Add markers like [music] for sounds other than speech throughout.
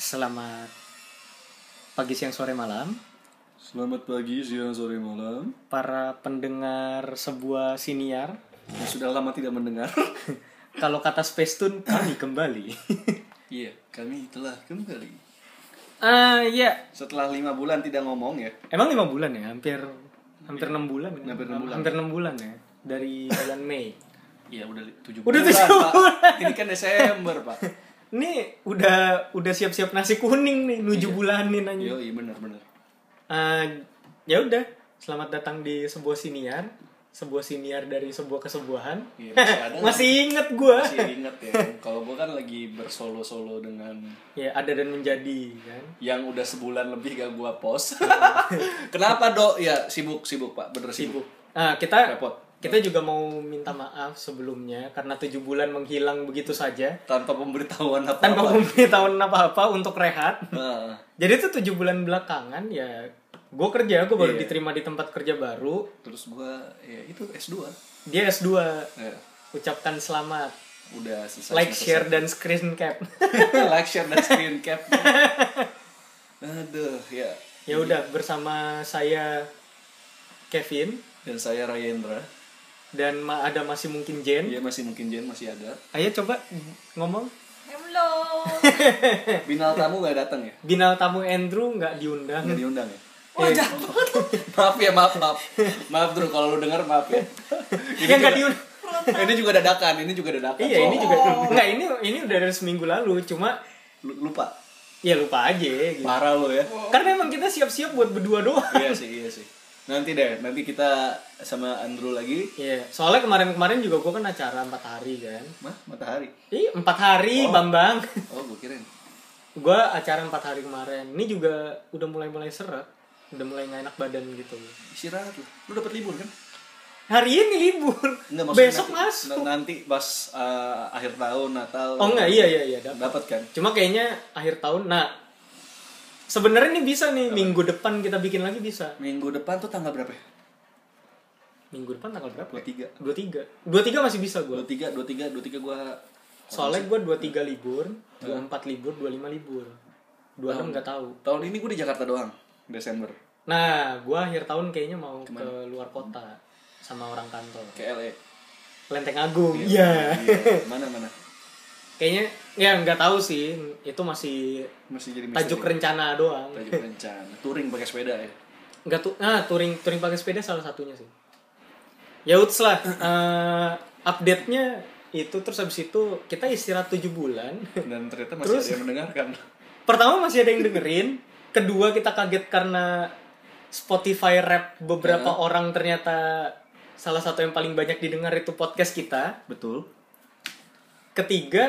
Selamat pagi, siang, sore, malam Selamat pagi, siang, sore, malam. Para pendengar sebuah siniar [laughs] Yang sudah lama tidak mendengar. Kalau kata Space Tune, kami kembali [laughs] [laughs] Iya, kami telah kembali. Ah ya, Setelah lima bulan tidak ngomong ya. emang lima bulan ya? Hampir hampir enam bulan ya? Hampir enam bulan. Hampir enam bulan ya? Dari bulan Mei Iya, udah li- tujuh Udah bulan. tujuh Pak. bulan. Ini kan Desember, [laughs] Pak. Ini udah udah siap-siap nasi kuning nih, nuju bulanin aja Yo, iya benar-benar. Ah, ya udah, selamat datang di sebuah siniar, sebuah siniar dari sebuah kesebuahan. [laughs] Iya, masih ada. [laughs] Masih inget gua. Masih ingat ya. Kalau gue kan lagi bersolo-solo dengan Ya, ada dan menjadi kan. yang udah sebulan lebih gak gua [laughs] post. Kenapa, Dok? Ya, sibuk, sibuk, Pak. Bener sibuk. Nah, kita Repot. kita juga mau minta maaf sebelumnya karena tujuh bulan menghilang begitu saja Tanpa pemberitahuan apa. tanpa pemberitahuan apa-apa untuk rehat. Nah, Jadi itu tujuh bulan belakangan ya gue kerja, gue baru Iya. diterima di tempat kerja baru. terus gua ya itu S2. Dia S2, Ya, ucapkan selamat. udah selesai. Like, semester share, dan screen cap. [laughs] [laughs] like share dan screen cap aduh ya ya udah, bersama saya Kevin dan saya Rayendra dan ma- ada masih mungkin Jen. dia masih mungkin Jen masih ada Ayo coba ngomong. Hello. binal tamu gak datang ya Binal tamu Andrew nggak diundang. nggak diundang ya [laughs] Eh, maaf ya maaf maaf maaf Drew kalau lu denger maaf ya ya nggak diundang. ini juga dadakan ini juga dadakan Iya So, ini juga Oh. nggak ini ini udah dari seminggu lalu cuma lu- lupa ya lupa aja gitu. parah lo ya Karena emang kita siap-siap buat berdua doang. iya sih iya sih nanti deh nanti kita sama Andrew lagi Iya, soalnya kemarin-kemarin juga gue kan acara empat hari kan. mah matahari Ih empat hari Bambang. oh gue kirain gue acara empat hari kemarin. Ini juga udah mulai-mulai seret, udah mulai nggak enak badan gitu. istirahat lu lu dapat libur kan Hari ini libur, Nggak, maksudnya besok nanti, masuk. nanti pas eh, akhir tahun Natal Oh enggak, iya iya iya. dapat. dapat kan Cuma kayaknya akhir tahun. Nah, sebenarnya ini bisa nih minggu depan kita bikin lagi bisa. Minggu depan tuh tanggal berapa ya? Minggu depan tanggal berapa? 23 23 23 masih bisa gue 23, 23, 23 gua Soalnya gue 23 libur 24 libur 25 libur 26 nggak Iya. tahu Tahun ini gua di Jakarta doang Desember Nah gue akhir tahun kayaknya mau ke luar kota Sama orang kantor Ke LA Lenteng Agung Iya Iya, Mana-mana Kayaknya ya nggak tahu sih Itu masih Iya. Masih jadi misteri. tajuk rencana doang Tajuk rencana Touring pakai sepeda ya nggak tuh nah touring touring pakai sepeda salah satunya sih ya uts [laughs] lah eh, update nya itu terus habis itu kita istirahat 7 bulan [laughs] Dan ternyata masih ada yang mendengarkan Pertama masih ada yang dengerin, kedua kita kaget karena Spotify rap beberapa orang ternyata salah satu yang paling banyak didengar itu podcast kita. Betul Ketiga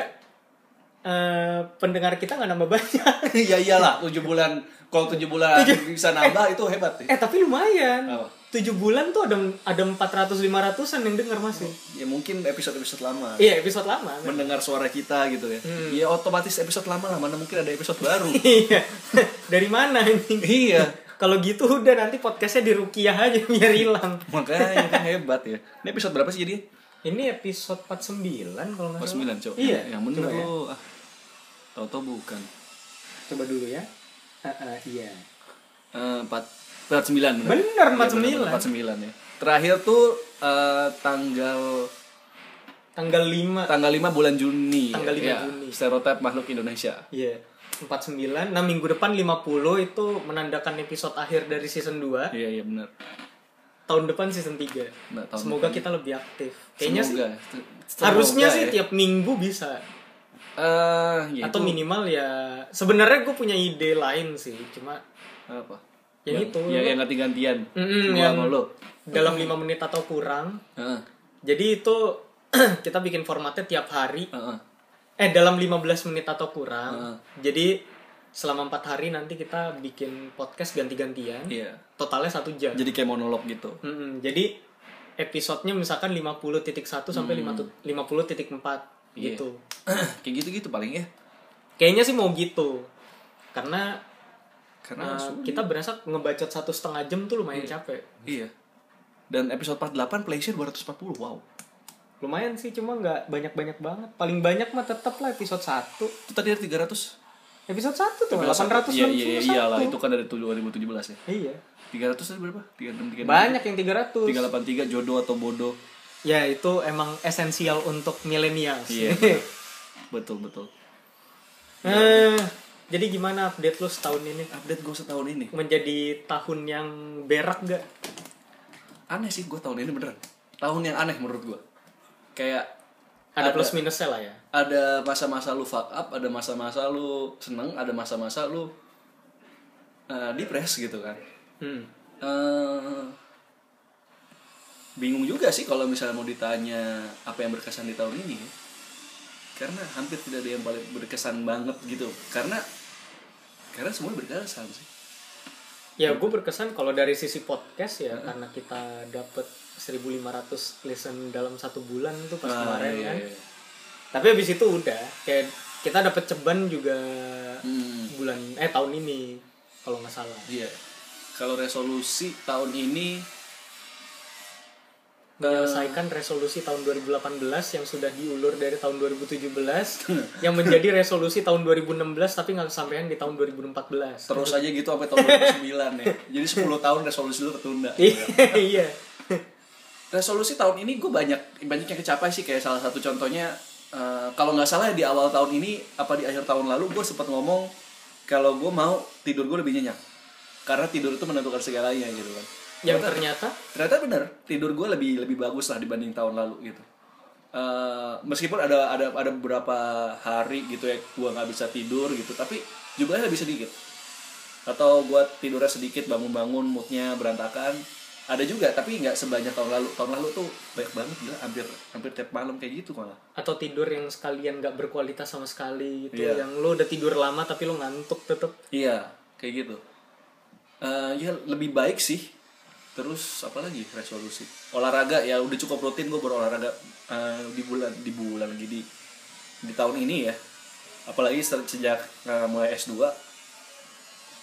eh, pendengar kita nggak nambah banyak. [laughs] [laughs] Ya iyalah 7 bulan Kalau 7 bulan bisa nambah itu hebat ya Eh tapi lumayan. Apa? 7 bulan tuh ada ada 400 500-an yang denger masih. Ya mungkin episode-episode lama Iya, Hmm. episode lama. Mendengar suara kita gitu ya Ya otomatis episode lama lah Mana mungkin ada episode baru [laughs] Iya. Dari mana ini? Iya Kalau gitu udah nanti podcastnya dirukiah aja biar hilang. Makanya kan hebat ya Ini episode berapa sih jadi? Ini episode 49 kalau nggak salah. 49 cok Iya, yang bener coba ya. lo ah tau-tau bukan Coba dulu ya. Ah, ah, iya. Eh, empat empat sembilan bener. Bener, Iya, 49. empat sembilan ya terakhir tuh eh, tanggal Tanggal 5. tanggal 5 bulan Juni Tanggal 5 Ya, Juni. stereotip makhluk Indonesia Iya. 49. Nah, minggu depan 50 itu menandakan episode akhir dari season 2. iya iya bener Tahun depan season 3. Nah, tahun Semoga kita lebih aktif. Kayaknya sih Semoga. Semoga harusnya ya. sih tiap minggu bisa. Eh, ya Atau itu minimal ya sebenarnya gue punya ide lain sih, cuma apa Yang itu. ya yang ganti-gantian Mm-mm, Gua yang- sama lo dalam Hmm. 5 menit atau kurang. Heeh, Jadi itu [clears throat] kita bikin formatnya tiap hari heeh. eh dalam 15 menit atau kurang. Heeh. Jadi selama empat hari nanti kita bikin podcast ganti-gantian. Iya. Totalnya satu jam. jadi kayak monolog gitu Mm-mm. Jadi episodenya misalkan 50.1 sampai 50.4 Hmm. Iya. gitu. [clears throat] kayak gitu-gitu paling ya Kayaknya sih mau gitu. Karena karena eh, langsung kita berasa ngebacot satu setengah jam tuh lumayan capek. Iya. Dan episode 48 pleasure 240. Wow. Lumayan sih cuma nggak banyak-banyak banget. Paling banyak mah tetap lah episode 1. Itu tadi ada 300. Episode 1 tuh, 891. Iya, iya, iyalah. Itu kan dari 2017 ya. Iya. 300 tadi berapa? 363. Banyak yang 300. 383 jodoh atau bodoh. Ya, itu emang esensial untuk milenial. [laughs] Iya. benar. betul, betul. Eh, jadi gimana update lu setahun ini? Update gue setahun ini. Menjadi tahun yang berak gak? Aneh sih gue tahun ini beneran. Tahun yang aneh menurut gue. Kayak Ada, plus minusnya lah ya. ada masa-masa lu fuck up, ada masa-masa lu seneng, ada masa-masa lu eh, depres gitu kan. Hmm. eh bingung juga sih kalau misalnya mau ditanya apa yang berkesan di tahun ini karena hampir tidak ada yang paling berkesan banget gitu karena karena semua berkesan sih Ya, gue berkesan kalau dari sisi podcast ya, karena kita dapet 1500 listen dalam satu bulan tuh pas Ah, kemarin iya, kan. iya. Tapi habis itu udah, kayak kita dapet ceban juga Hmm, bulan eh tahun ini kalau nggak salah. iya kalau resolusi tahun ini menyelesaikan resolusi tahun 2018 yang sudah diulur dari tahun 2017 yang menjadi resolusi tahun 2016 tapi nggak kesampaian di tahun 2014 terus aja gitu sampai tahun 2009 ya jadi 10 tahun resolusi lu tertunda [laughs] iya resolusi tahun ini gue banyak banyak yang kecapai sih kayak salah satu contohnya eh, kalau nggak salah di awal tahun ini apa di akhir tahun lalu gue sempat ngomong kalau gue mau tidur gue lebih nyenyak karena tidur itu menentukan segalanya gitu kan yang ternyata ternyata bener tidur gue lebih lebih bagus lah dibanding tahun lalu gitu Eh, meskipun ada ada ada beberapa hari gitu ya gue nggak bisa tidur gitu tapi jumlahnya lebih sedikit atau gue tidurnya sedikit bangun-bangun moodnya berantakan ada juga tapi nggak sebanyak tahun lalu tahun lalu tuh banyak banget gila hampir hampir tiap malam kayak gitu malah atau tidur yang sekalian nggak berkualitas sama sekali gitu Iya. yang lo udah tidur lama tapi lo ngantuk tetep Iya, kayak gitu. Eh, ya lebih baik sih. Terus apa lagi resolusi? Olahraga ya udah cukup rutin gue berolahraga eh, di bulan di bulan lagi di di tahun ini ya. Apalagi se- sejak eh, mulai S2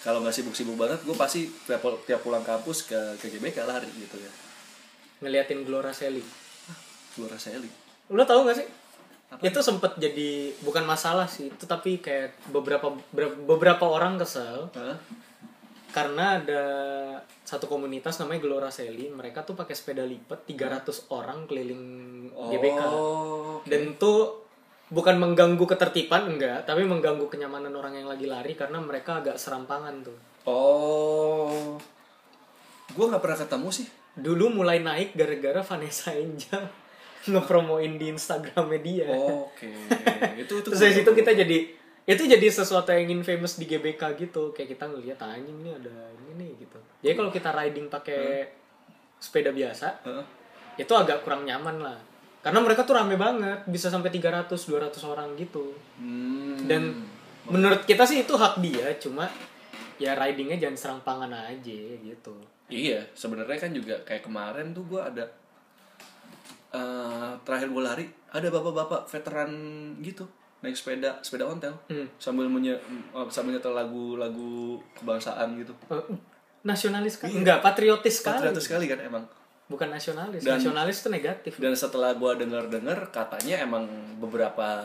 kalau nggak sibuk-sibuk banget gue pasti tiap, pul- tiap pulang kampus ke ke GBK lari gitu ya. ngeliatin Glora Sally Gue rasain lo tau gak sih itu sempet jadi bukan masalah sih itu tapi kayak beberapa beberapa orang kesel Hah? karena ada satu komunitas namanya Gelora Seli mereka tuh pakai sepeda lipat 300 orang keliling GBK Oh. dan tuh bukan mengganggu ketertiban enggak tapi mengganggu kenyamanan orang yang lagi lari karena mereka agak serampangan tuh Oh. Gue nggak pernah ketemu [laughs] sih. dulu mulai naik gara-gara Vanessa Angel [laughs] ngepromoin di Instagramnya dia Oke. itu Oh, itu terus gua- dari situ kita jadi itu jadi sesuatu yang infamous di GBK gitu kayak kita ngeliat anjing nih ada ini nih gitu jadi kalau kita riding pakai sepeda biasa Heeh. itu agak kurang nyaman lah karena mereka tuh rame banget bisa sampai 300 200 orang gitu Hmm. dan menurut kita sih itu hak dia cuma ya ridingnya jangan serampangan aja gitu iya, sebenarnya kan juga kayak kemarin tuh gua ada eh, terakhir gue lari ada bapak-bapak veteran gitu naik sepeda sepeda ontel Hmm. sambil menye eh, sambil nyetel lagu-lagu kebangsaan gitu. Eh, nasionalis Iya. kan enggak patriotis sekali Ternyata sekali kan emang. bukan nasionalis nasionalis itu negatif Dan setelah gua denger-denger katanya emang beberapa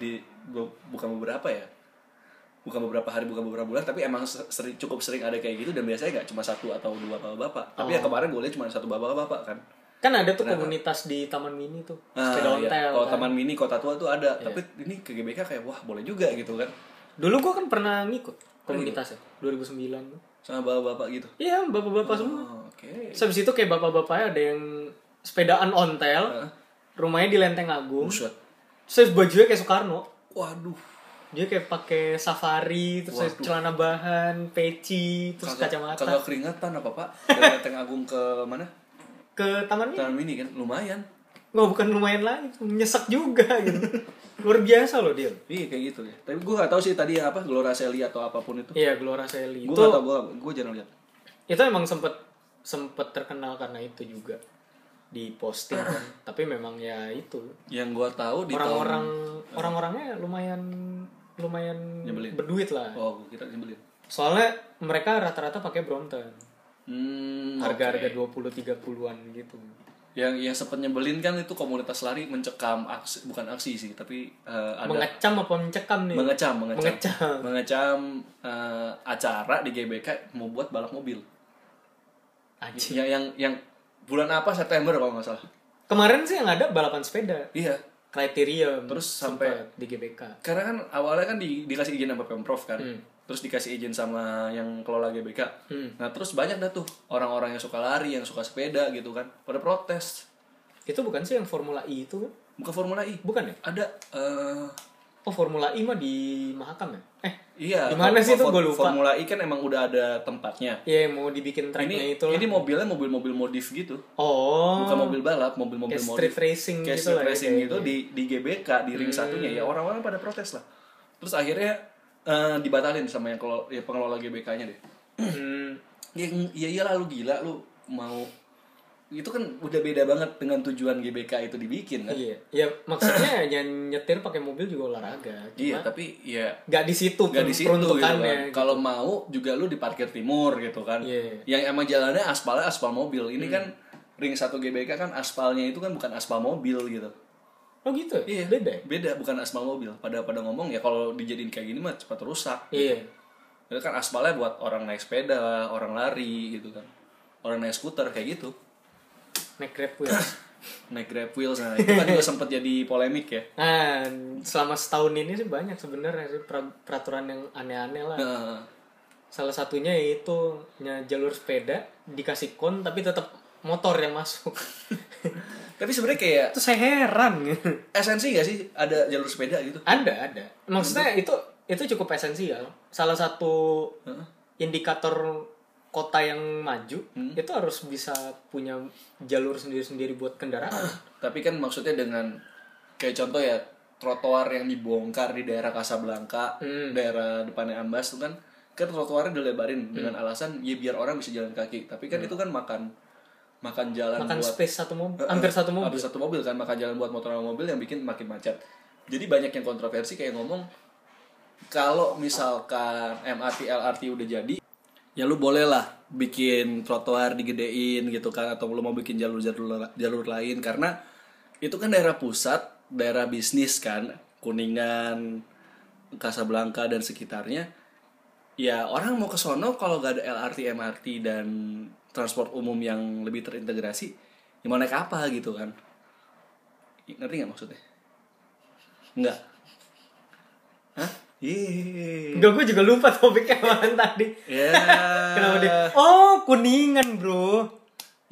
di gua- bukan beberapa ya. Bukan beberapa hari, bukan beberapa bulan, tapi emang se- sering, cukup sering ada kayak gitu dan biasanya nggak cuma satu atau dua bapak-bapak. Tapi ya kemarin gue lihat cuma satu bapak-bapak kan. kan ada tuh komunitas di taman mini tuh Ah, sepeda iya. ontel kan. Kalau Iya. taman mini kota tua tuh ada, tapi ini ke GBK kayak wah boleh juga gitu kan. dulu gua kan pernah ngikut Oh, iya. komunitasnya 2009 tuh. Sama bapak-bapak gitu. iya bapak-bapak semua Oh, Oke. Terus habis itu kayak bapak-bapaknya ada yang sepedaan ontel, rumahnya di Lenteng Agung. Ah. Buset. Terus bajunya kayak Soekarno. Waduh. Dia kayak pakai safari, terus celana bahan, peci, terus Kagak, kacamata. kagak keringatan apa, Pak? Dari [laughs] Lenteng Agung ke mana? Ke taman ini. Taman mini kan lumayan. Nggak, bukan lumayan lagi, nyesek juga [laughs] gitu. Luar biasa loh dia. Iya kayak gitu ya. Tapi gue gak tahu sih tadi yang apa Gelora Seli atau apapun itu. Iya, Gelora Seli. Gue Itu, gak tau, gue gue jarang lihat. itu emang sempet sempet terkenal karena itu juga di posting [laughs] kan. Tapi memang ya itu Yang gue tahu di orang-orang orang-orangnya lumayan lumayan Nyebelin. berduit lah. tahun oh kita nyebelin. Soalnya mereka rata-rata pakai Brompton. Hmm, Harga-harga 20 30-an gitu. yang yang sempat nyebelin kan itu komunitas lari mencekam aksi bukan aksi sih tapi eh, ada Mengecam apa mencekam nih? mengecam mengecam Mengecam. Mengecam, eh, acara di GBK mau buat balap mobil Anjing. yang yang yang bulan apa September kalau nggak salah Kemarin sih yang ada balapan sepeda. iya Kriterium. Terus sampai- sempat di GBK. karena kan awalnya kan di, dikasih izin sama pemprov kan Hmm. terus dikasih izin sama yang kelola GBK Hmm. nah terus banyak dah tuh orang-orang yang suka lari yang suka sepeda gitu kan pada protes Itu bukan sih yang Formula I itu? kan? bukan Formula I Bukan ya? ada eh, Oh Formula I mah di Mahakam ya? Eh, iya Di mana sih tuh? for- Gua lupa. Formula I kan emang udah ada tempatnya ya yang mau dibikin tracknya ini itu lah. ini mobilnya mobil-mobil modif gitu Oh, bukan mobil balap mobil-mobil kayak modif street racing kayak gitu lah. street ya racing kayaknya. gitu di di GBK di Hmm. ring satunya ya orang-orang pada protes lah terus akhirnya eh, dibatalin sama yang kelo- ya, pengelola GBK-nya deh Hmm, ya, ya iyalah lu gila lu mau itu kan udah beda banget dengan tujuan GBK itu dibikin kan iya. Ya [coughs] maksudnya ya nyetir pakai mobil juga olahraga. iya Cuma tapi ya nggak di situ nggak di situ gitu kan peruntukannya. kalau mau juga lu di parkir timur gitu kan Iya. Hmm. yang emang jalannya aspalnya aspal mobil ini kan ring satu GBK kan aspalnya itu kan bukan aspal mobil gitu Oh gitu. Iya. Beda. ya? beda bukan aspal mobil pada pada ngomong ya kalau dijadiin kayak gini mah cepat rusak Iya. itu kan aspalnya buat orang naik sepeda orang lari gitu kan orang naik skuter kayak gitu Naik grab wheels. naik grab wheels nah itu kan juga sempat jadi polemik ya Nah, selama setahun ini sih banyak sebenarnya sih pra- peraturan yang aneh-aneh lah. Nah, Salah satunya yaitu nya- jalur sepeda dikasih kon tapi tetap motor yang masuk. [laughs] tapi sebenarnya kayak itu saya heran. esensi gak sih ada jalur sepeda gitu ada, ada. Maksudnya itu itu cukup esensial. Salah satu Heeh. indikator kota yang maju Hmm. itu harus bisa punya jalur sendiri-sendiri buat kendaraan. tapi kan maksudnya dengan kayak contoh ya trotoar yang dibongkar di daerah Casablanca daerah depannya Ambas tuh kan kan trotoarnya dilebarin dengan alasan ya biar orang bisa jalan kaki tapi kan itu kan makan makan jalan Makan buat space satu mobil, hampir satu mobil. Hampir satu mobil kan makan jalan buat motor sama mobil yang bikin makin macet. Jadi banyak yang kontroversi kayak ngomong kalau misalkan MRT LRT udah jadi ya lu boleh lah bikin trotoar digedein gitu kan atau lu mau bikin jalur jalur jalur lain karena itu kan daerah pusat daerah bisnis kan kuningan Casablanca dan sekitarnya ya orang mau ke sono kalau gak ada LRT MRT dan transport umum yang lebih terintegrasi ya mau naik apa gitu kan ngerti nggak maksudnya nggak hah Iya. Yeay. Enggak, gue juga lupa topiknya [laughs] apaan tadi. ya [laughs] Kenapa dia? Eh. Oh, kuningan bro.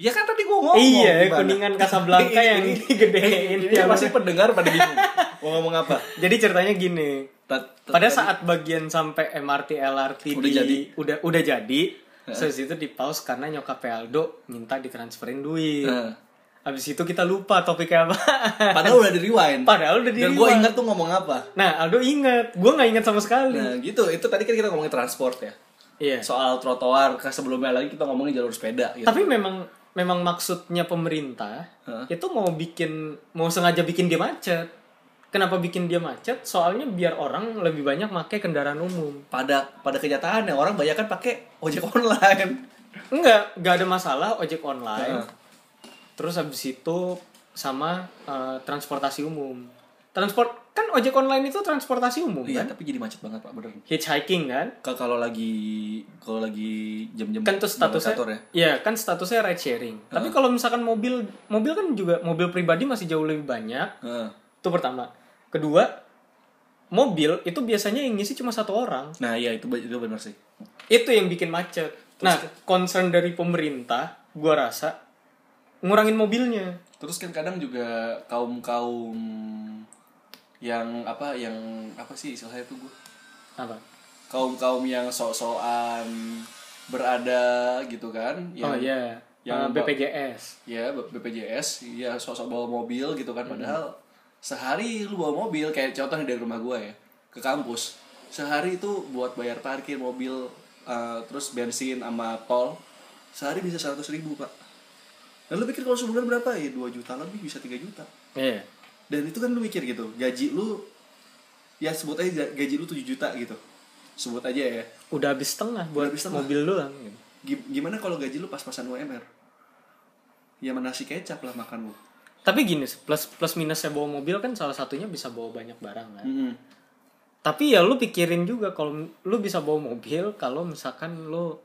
ya kan tadi gua ngomong iya, gimana? kuningan Casablanca yang [laughs] Ini- [laughs] digedein. ini pasti pendengar pada bingung mau ngomong apa Jadi ceritanya gini. Ta- ta- Pada saat bagian sampai MRT LRT Udah di- jadi. Eh. udah udah jadi, terus itu di pause karena nyokap Aldo minta ditransferin duit. Nah, Abis itu kita lupa topiknya apa. [laughs] padahal udah di rewind Padahal udah di dan gua rewind. ingat tuh ngomong apa Nah, Aldo inget. Gue nggak inget sama sekali. nah gitu itu tadi kan kita ngomongin transport ya Iya. soal trotoar kan sebelumnya lagi kita ngomongin jalur sepeda gitu. Tapi memang memang maksudnya pemerintah Hah? itu mau bikin mau sengaja bikin dia macet. Kenapa bikin dia macet? Soalnya biar orang lebih banyak pakai kendaraan umum. pada pada kenyataannya orang banyak kan pakai ojek online Enggak, enggak ada masalah ojek online. Terus habis itu sama eh, transportasi umum. Transport kan ojek online itu transportasi umum iya kan? tapi jadi macet banget pak bener Hitchhiking kan? Ka- kalau lagi kalau lagi jam-jam Kan tuh berangkat statusnya kantor ya Iya, kan statusnya ride sharing. Tapi kalau misalkan mobil mobil kan juga mobil pribadi masih jauh lebih banyak. Heeh. Itu pertama. Kedua, mobil itu biasanya yang ngisi cuma satu orang. nah iya itu itu benar sih Itu yang bikin macet. Nah, concern dari pemerintah, gua rasa ngurangin mobilnya. terus kan kadang juga kaum kaum yang apa yang apa sih istilahnya tuh gue Apa? kaum kaum yang sok-sokan berada gitu kan oh yang iya, Eh, yang BPJS. ya B- BPJS ya sosok bawa mobil gitu kan padahal sehari lu bawa mobil kayak contohnya dari rumah gue ya ke kampus sehari itu buat bayar parkir mobil eh, terus bensin sama tol sehari bisa seratus ribu pak dan lu pikir kalau sebulan berapa ya 2 juta lebih bisa 3 juta Iya. dan itu kan lu mikir gitu gaji lu ya sebut aja ga- gaji lu 7 juta gitu sebut aja ya Udah habis iya. setengah buat habis setengah. mobil doang. Gi- gimana kalau gaji lu pas-pasan UMR ya sama nasi kecap lah makan lu Tapi gini, plus plus minusnya bawa mobil kan salah satunya bisa bawa banyak barang kan. Mm-mm. Tapi ya lu pikirin juga kalau lu bisa bawa mobil kalau misalkan lu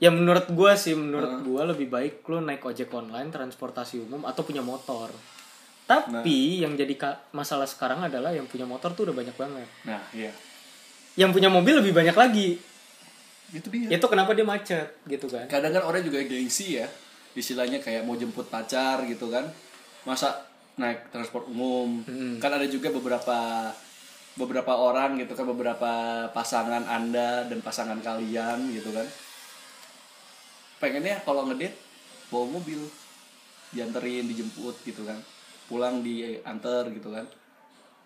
ya menurut gua sih menurut gua lebih baik lu naik ojek online, transportasi umum atau punya motor. Nah. Tapi yang jadi ka- masalah sekarang adalah yang punya motor tuh udah banyak banget. nah iya Yang punya mobil lebih banyak lagi. itu dia Itu kenapa dia macet gitu kan. kadang kan orang juga gengsi ya istilahnya kayak mau jemput pacar gitu kan masa naik transport umum kan ada juga beberapa beberapa orang gitu kan beberapa pasangan anda dan pasangan kalian gitu kan pengennya kalau ngedit bawa mobil dianterin dijemput gitu kan pulang diantar gitu kan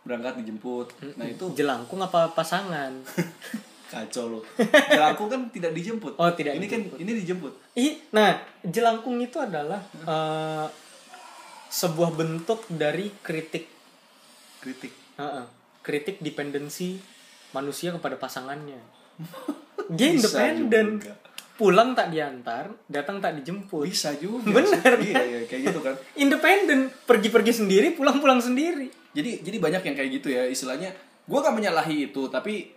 berangkat dijemput nah itu Jelangkung apa pasangan? [laughs] kacau loh jelangkung kan tidak dijemput Oh, tidak ini kan ini dijemput Ih, nah, jelangkung itu adalah eh, sebuah bentuk dari kritik, kritik Heeh. kritik dependensi manusia kepada [laughs] pasangannya. Dia independen, juga. pulang tak diantar, datang tak dijemput. Oh, bisa juga Bener, sih. iya, iya, kayak gitu kan Independen, pergi-pergi sendiri, pulang-pulang sendiri. jadi jadi banyak yang kayak gitu ya istilahnya gue gak menyalahi itu tapi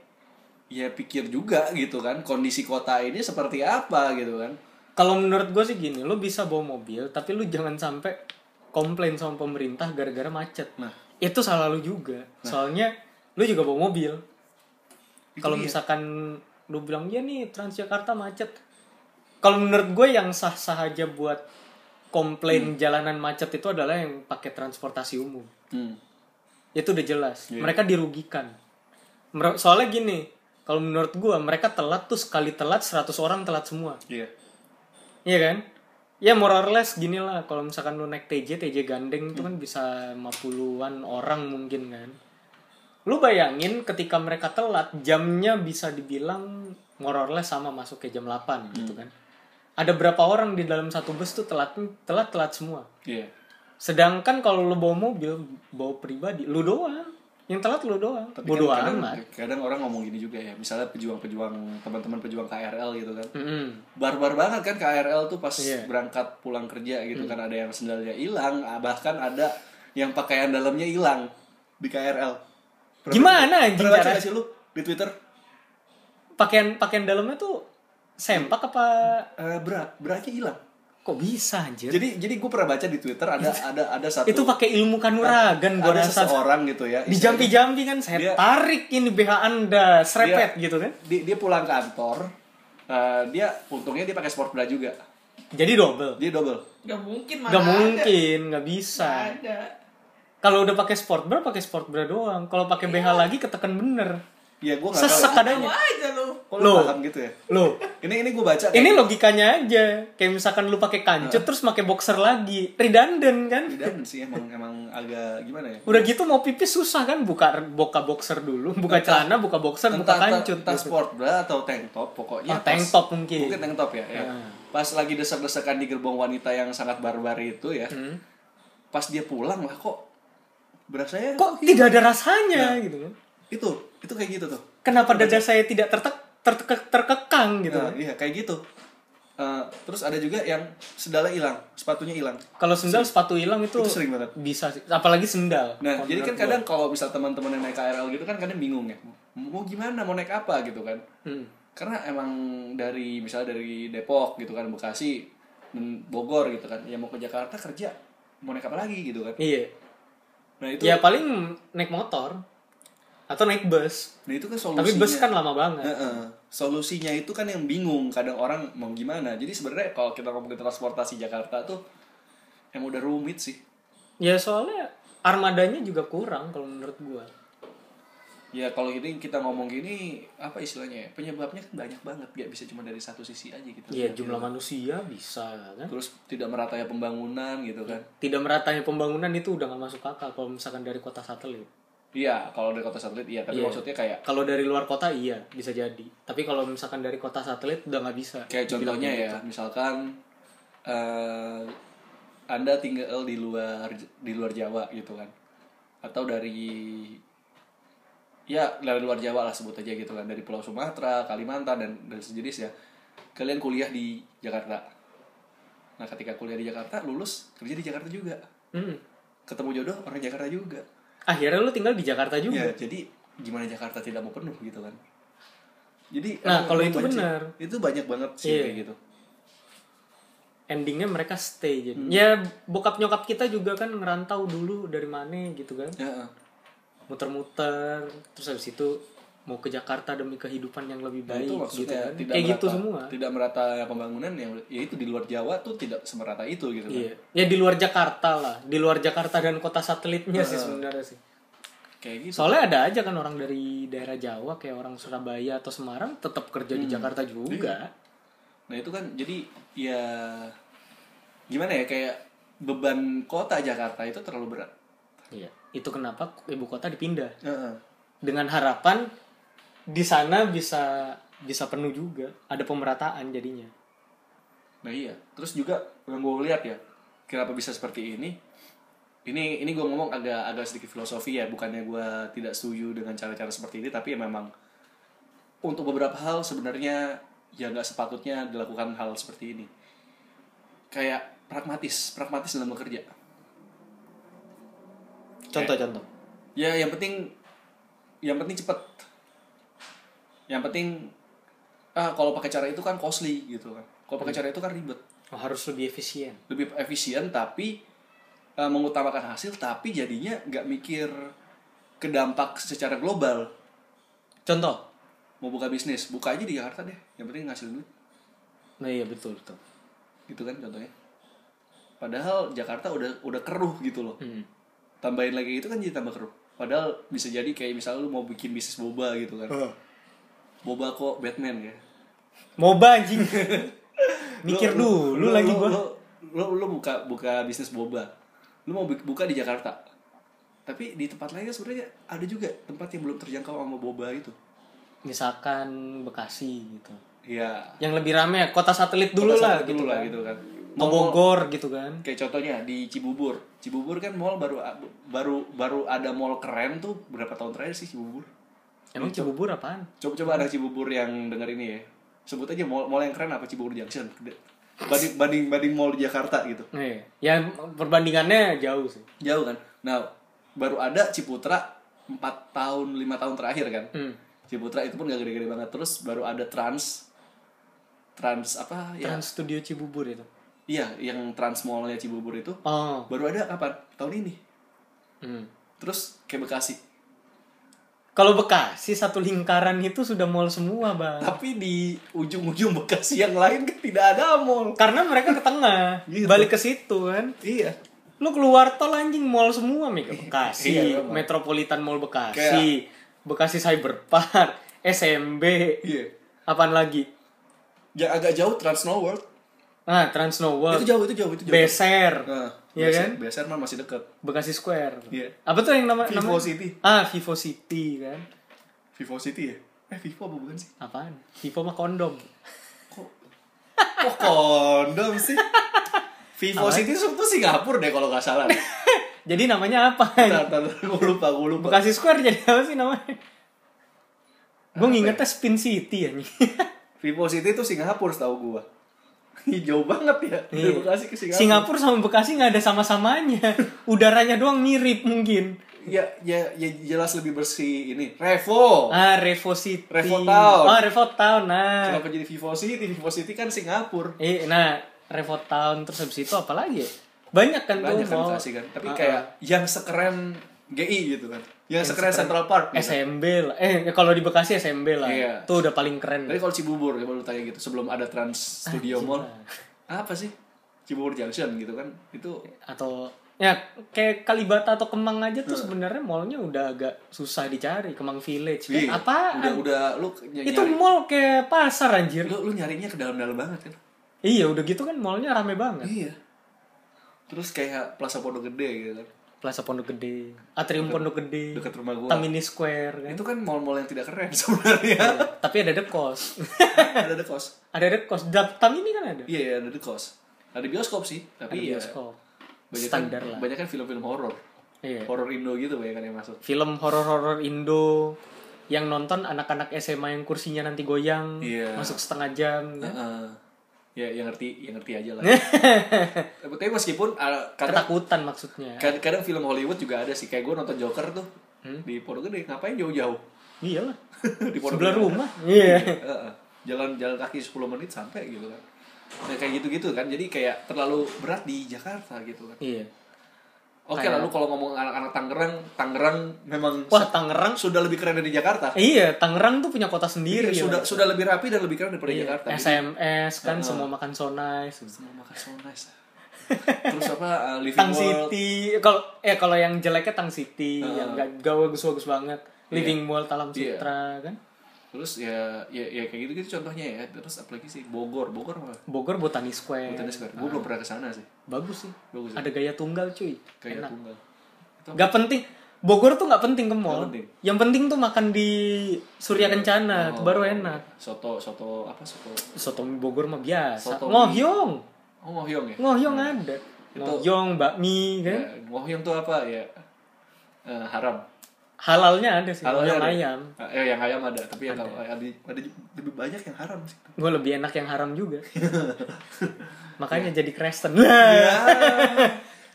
ya pikir juga gitu kan kondisi kota ini seperti apa gitu kan Kalau menurut gue sih gini, lo bisa bawa mobil, tapi lo jangan sampai komplain sama pemerintah gara-gara macet. Nah. itu salah lo juga. Soalnya lo juga bawa mobil. Itu Kalau dia. misalkan lo bilang ya nih Transjakarta macet. Kalau menurut gue yang sah-sah aja buat komplain jalanan macet itu adalah yang pakai transportasi umum. hmm. Itu udah jelas. Iya. Mereka dirugikan. Mer- Soalnya gini, kalau menurut gue mereka telat tuh sekali telat 100 orang telat semua. iya Iya kan? Ya more or less gini lah kalau misalkan lu naik TJ, TJ gandeng itu kan bisa 50-an orang mungkin kan. Lu bayangin ketika mereka telat, jamnya bisa dibilang more or less sama masuk ke jam 8 gitu kan. Ada berapa orang di dalam satu bus tuh telat telat telat semua. iya Sedangkan kalau lu bawa mobil, bawa pribadi, lu doang. Yang telat lu doang. tapi Bodoh kan kadang, amat. kadang orang ngomong gini juga ya misalnya pejuang-pejuang teman-teman pejuang KRL gitu kan Mm-mm. barbar banget kan KRL tuh pas Iya. berangkat pulang kerja gitu Hmm. kan ada yang sendalnya hilang ah, bahkan ada yang pakaian dalamnya hilang di KRL Pernah- Gimana anjing pernah baca cara? nggak sih lu di Twitter Pakaian pakaian dalamnya tuh sempak apa Eh, bra branya hilang kok bisa anjir? jadi jadi gue pernah baca di Twitter ada ada ada satu Iya. itu pakai ilmu kanuragan gua ada rasa seseorang Iya. gitu ya istilahnya. dijampi-jampi kan saya Dia- tarik ini BH anda serepet Iya. gitu kan dia, dia pulang kantor eh, dia untungnya dia pakai sport bra juga jadi double dia double Gak mungkin nggak mana ada. Nah. mungkin nggak Nggak bisa ada. kalau udah pakai sport bra pakai sport bra doang kalau pakai BH Iya. lagi ketekan bener ya gue nggak sesek tahu Apa kadang aja lu? kok lu Loh. paham gitu ya lo ini ini gue baca ini logikanya aja kayak misalkan lu pakai kancut terus pakai boxer lagi redundant kan Tidak sih emang emang agak gimana ya udah gitu mau pipis susah kan buka buka boxer dulu buka celana buka boxer buka entah, entah, kancut entah gitu. sport bra atau tank top pokoknya Ah, tank pas- top mungkin. Ah. mungkin tank top ya, ya. pas lagi desak-desakan di gerbong wanita yang sangat barbar itu ya Hmm. pas dia pulang lah kok berasanya kok tidak ada Iya. rasanya gitu kan itu itu kayak gitu tuh kenapa dada saya tidak tertek tertek- terkekang gitu nah, kan. iya kayak gitu Eh, terus ada juga yang sendalnya hilang sepatunya hilang Kalau sendal sepatu hilang itu, Itu sering banget. Bisa sih, apalagi sendal. Nah, Kalau jadi kan menurut kadang kalau misal teman-teman yang naik KRL gitu kan kadang bingung ya. Mau gimana, mau naik apa gitu kan. Hmm. Karena emang dari misalnya dari Depok gitu kan, Bekasi, dan Bogor gitu kan. Ya mau ke Jakarta kerja, mau naik apa lagi gitu kan. gua. Iya. Nah, itu Ya paling naik motor atau naik bus. nah itu kan solusinya. Tapi bus kan lama banget. Heeh. solusinya itu kan yang bingung kadang orang mau gimana. Jadi sebenarnya kalau kita ngomongin transportasi Jakarta tuh emang udah rumit sih. Ya soalnya armadanya juga kurang kalau menurut gua. Ya kalau gini kita ngomong gini apa istilahnya ya? Penyebabnya kan banyak banget, gak bisa cuma dari satu sisi aja gitu. Ya jumlah manusia bisa kan. terus tidak merata ya pembangunan gitu kan Tidak meratanya pembangunan itu udah nggak masuk akal kalau misalkan dari kota satelit. iya kalau dari kota satelit iya tapi Iya. maksudnya kayak Kalau dari luar kota iya bisa jadi. Tapi kalau misalkan dari kota satelit udah nggak bisa. kayak contohnya ya misalkan eh anda tinggal di luar di luar Jawa gitu kan atau dari ya dari luar Jawa lah sebut aja gitu kan dari Pulau Sumatera Kalimantan dan dan sejenis ya kalian kuliah di Jakarta Nah ketika kuliah di Jakarta, lulus kerja di Jakarta juga. Mm. Ketemu jodoh orang Jakarta juga. Akhirnya lu tinggal di Jakarta juga. Ya, jadi gimana Jakarta tidak mau penuh gitu kan. Jadi Nah, emang kalau gua itu benci. benar. Itu banyak banget sih Iya. kayak gitu. Endingnya mereka stay jadi. Hmm. Ya bokap nyokap kita juga kan ngerantau dulu dari mana gitu kan. Ya, eh. Muter-muter terus habis itu mau ke Jakarta demi kehidupan yang lebih Nah, baik itu gitu maksudnya kan. tidak Kayak merata, gitu semua. Tidak merata pembangunan yang ya itu di luar Jawa tuh tidak semerata itu gitu kan. Iya. Ya di luar Jakarta lah, di luar Jakarta dan kota satelitnya sih sebenarnya sih. Kayak gitu. Soalnya ada aja kan orang dari daerah Jawa kayak orang Surabaya atau Semarang tetap kerja Hmm. di Jakarta juga. Nah itu kan jadi ya gimana ya kayak beban kota Jakarta itu terlalu berat. Iya. Itu kenapa ibu kota dipindah Heeh. dengan harapan di sana bisa bisa penuh juga, ada pemerataan jadinya. Nah iya. Terus juga yang gue lihat ya kenapa bisa seperti ini. Ini ini gue ngomong agak agak sedikit filosofi ya bukannya gue tidak setuju dengan cara-cara seperti ini tapi ya memang untuk beberapa hal sebenarnya ya nggak sepatutnya dilakukan hal seperti ini. Kayak pragmatis, pragmatis dalam bekerja. Contoh-contoh. Ya yang penting yang penting cepet. Yang penting ah kalau pakai cara itu kan costly gitu kan. Kalau pakai cara itu kan ribet. Oh, harus lebih efisien. Lebih efisien tapi eh, mengutamakan hasil tapi jadinya nggak mikir ke dampak secara global. Contoh. Mau buka bisnis, buka aja di Jakarta deh. Yang penting ngasilin duit. Nah iya betul betul. Gitu kan contohnya. Padahal Jakarta udah udah keruh gitu loh. Hmm. Tambahin lagi itu kan jadi tambah keruh. Padahal bisa jadi kayak misalnya lu mau bikin bisnis boba gitu Hmm. kan. Boba kok Batman ya. Moba [laughs] anjing. Mikir dulu lagi lu, gua. lu, lu, lu buka buka bisnis boba lu mau bu- buka di Jakarta tapi di tempat lainnya sebenarnya ada juga tempat yang belum terjangkau sama boba gitu. itu Misalkan Bekasi gitu. ya yang lebih rame ya, kota satelit dulu kota lah satelit gitu dulu lah kan. gitu kan Mau Bogor gitu kan kayak contohnya di Cibubur Cibubur kan mall baru baru baru ada mall keren tuh berapa tahun terakhir sih Cibubur emang Cibubur apaan coba coba ada Cibubur yang denger ini ya sebut aja mall mall yang keren apa Cibubur Junction banding banding banding mall di Jakarta gitu Iya. ya perbandingannya jauh sih jauh kan nah baru ada Ciputra 4 tahun 5 tahun terakhir kan Hmm. Ciputra itu pun gak gede-gede banget terus baru ada Trans Trans apa ya Trans Studio Cibubur itu iya yang Trans Mallnya Cibubur itu oh baru ada kapan tahun ini hmm. terus ke Bekasi kalau Bekasi satu lingkaran itu sudah mall semua bang tapi di ujung-ujung Bekasi yang lain kan tidak ada mall karena mereka ke tengah [laughs] Gitu. balik ke situ kan iya lu keluar tol anjing mall semua Mega Bekasi Iya, memang. Metropolitan Mall Bekasi Bekasi [laughs] Cyberpark SMB iya apaan lagi yang agak jauh Trans Snow World ah Trans Snow World itu jauh itu jauh itu jauh Beser nah, Iya Beser- kan? Beser mah masih dekat Bekasi Square. Iya. Apa tuh yang nama Vivo nama- City. Ah, Vivo City kan. Vivo City ya eh Vivo apa bukan sih Apaan? Vivo mah kondom. kok kok kondom sih Vivo Apa? City itu tuh Singapura deh kalau nggak salah Jadi namanya apa? Ntar, ntar, ntar, gue lupa gue lupa Bekasi Square jadi apa sih namanya? Gue ngingetnya Spin City ya Vivo City itu Singapura setahu [laughs] gue jauh banget ya [laughs] dari Bekasi ke Singapura Iya. Singapura sama Bekasi nggak ada [laughs] sama-samanya. Udaranya doang mirip mungkin. ya ya ya jelas lebih bersih ini Revo Ah, Revo City. Oh. Revo Town. Ah, Revo Town. Nah. kenapa jadi Vivo City Vivo City kan Singapura Eh, nah, Revo Town terus habis itu apa lagi ya? Banyak kan banyak tuh kan mall. Bekasi kan tapi Ah, kayak yang sekeren GI gitu kan yang, sekeren, Central Park gitu. SMB lah. Eh kalau di Bekasi SMB lah. Iya. Tuh udah paling keren. Tapi kalau Cibubur coba lu tanya gitu sebelum ada Trans Ah, Studio Mall. Apa sih? Cibubur Junction gitu kan. Itu Atau ya kayak Kalibata atau Kemang aja tuh Hmm. sebenarnya mallnya udah agak susah dicari. Kemang Village. Ih, Kayak apaan? Iya, Udah udah lu ny- Itu nyari mall kayak pasar anjir. lu, lu nyarinya ke dalam-dalam banget kan. Iya, udah gitu kan mallnya rame banget. Iya. Terus kayak Plaza Pondok Gede gitu kan. Plaza Pondok Gede, Atrium Pondok Gede, Dekat rumah gua. Tamini Square kan. Iya. Itu kan mall-mall yang tidak keren [laughs] sebenarnya. Tapi ada Dekos. ada The Cost. [laughs] ada Dekos. Da- Tamini kan ada. Iya, iya, ada The Cost. Ada bioskop sih, Ada tapi ya bioskop. banyak Standar lah. Banyak kan film-film horor. Iya. Horor Indo gitu banyak kan yang masuk. film horor-horor Indo yang nonton anak-anak SMA yang kursinya nanti goyang Iya. masuk setengah jam Heeh. ya yang ngerti yang ngerti [laughs] aja lah tapi meskipun uh, kadang Ketakutan maksudnya. kad- kadang film Hollywood juga ada sih kayak gue nonton Joker tuh di Pondok Gede ngapain jauh-jauh Iya lah. di Pondok Sebelah Gede. rumah. Iya. Heeh. jalan jalan kaki 10 menit sampai gitu kan nah kayak gitu-gitu kan jadi kayak terlalu berat di Jakarta gitu kan Iya. oke lalu kalau ngomong anak-anak Tangerang Tangerang memang Wah, Tangerang. sudah lebih keren dari Jakarta Iya, Tangerang tuh punya kota sendiri. ya. sudah sudah lebih rapi dan lebih keren daripada Iya. Jakarta SMS kan semua makan so nice. Semua makan so nice. terus [laughs] apa uh, living Tang world City. Kalau eh kalau yang jeleknya Tang City, yang gak gawe bagus-bagus banget. Living Mall Talam Iya. Sutra kan. terus ya ya, ya kayak gitu gitu contohnya ya terus apalagi sih Bogor Bogor apa Bogor Botani Square. Botani Square gue belum pernah kesana sih Bagus sih. Bagus Ada gaya tunggal cuy. kayak tunggal itu Gak penting. Bogor tuh gak penting ke mall. penting. Iya. Oh. Yang penting tuh makan di Surya Kencana, itu baru enak. soto soto apa soto Soto mie Bogor mah biasa. Soto mie. Ngohyong. oh ngohyong ya Ngohyong ada. Ngohyong, bakmi kan. Ya, ngohyong tuh apa ya Eh, haram Halalnya ada sih, ngohyong ada. ayam. Eh, yang ayam ada tapi yang ada. ada ada lebih banyak yang haram sih Gue lebih enak yang haram [laughs] juga. Makanya Iya. jadi Kristen. Lah. Ya.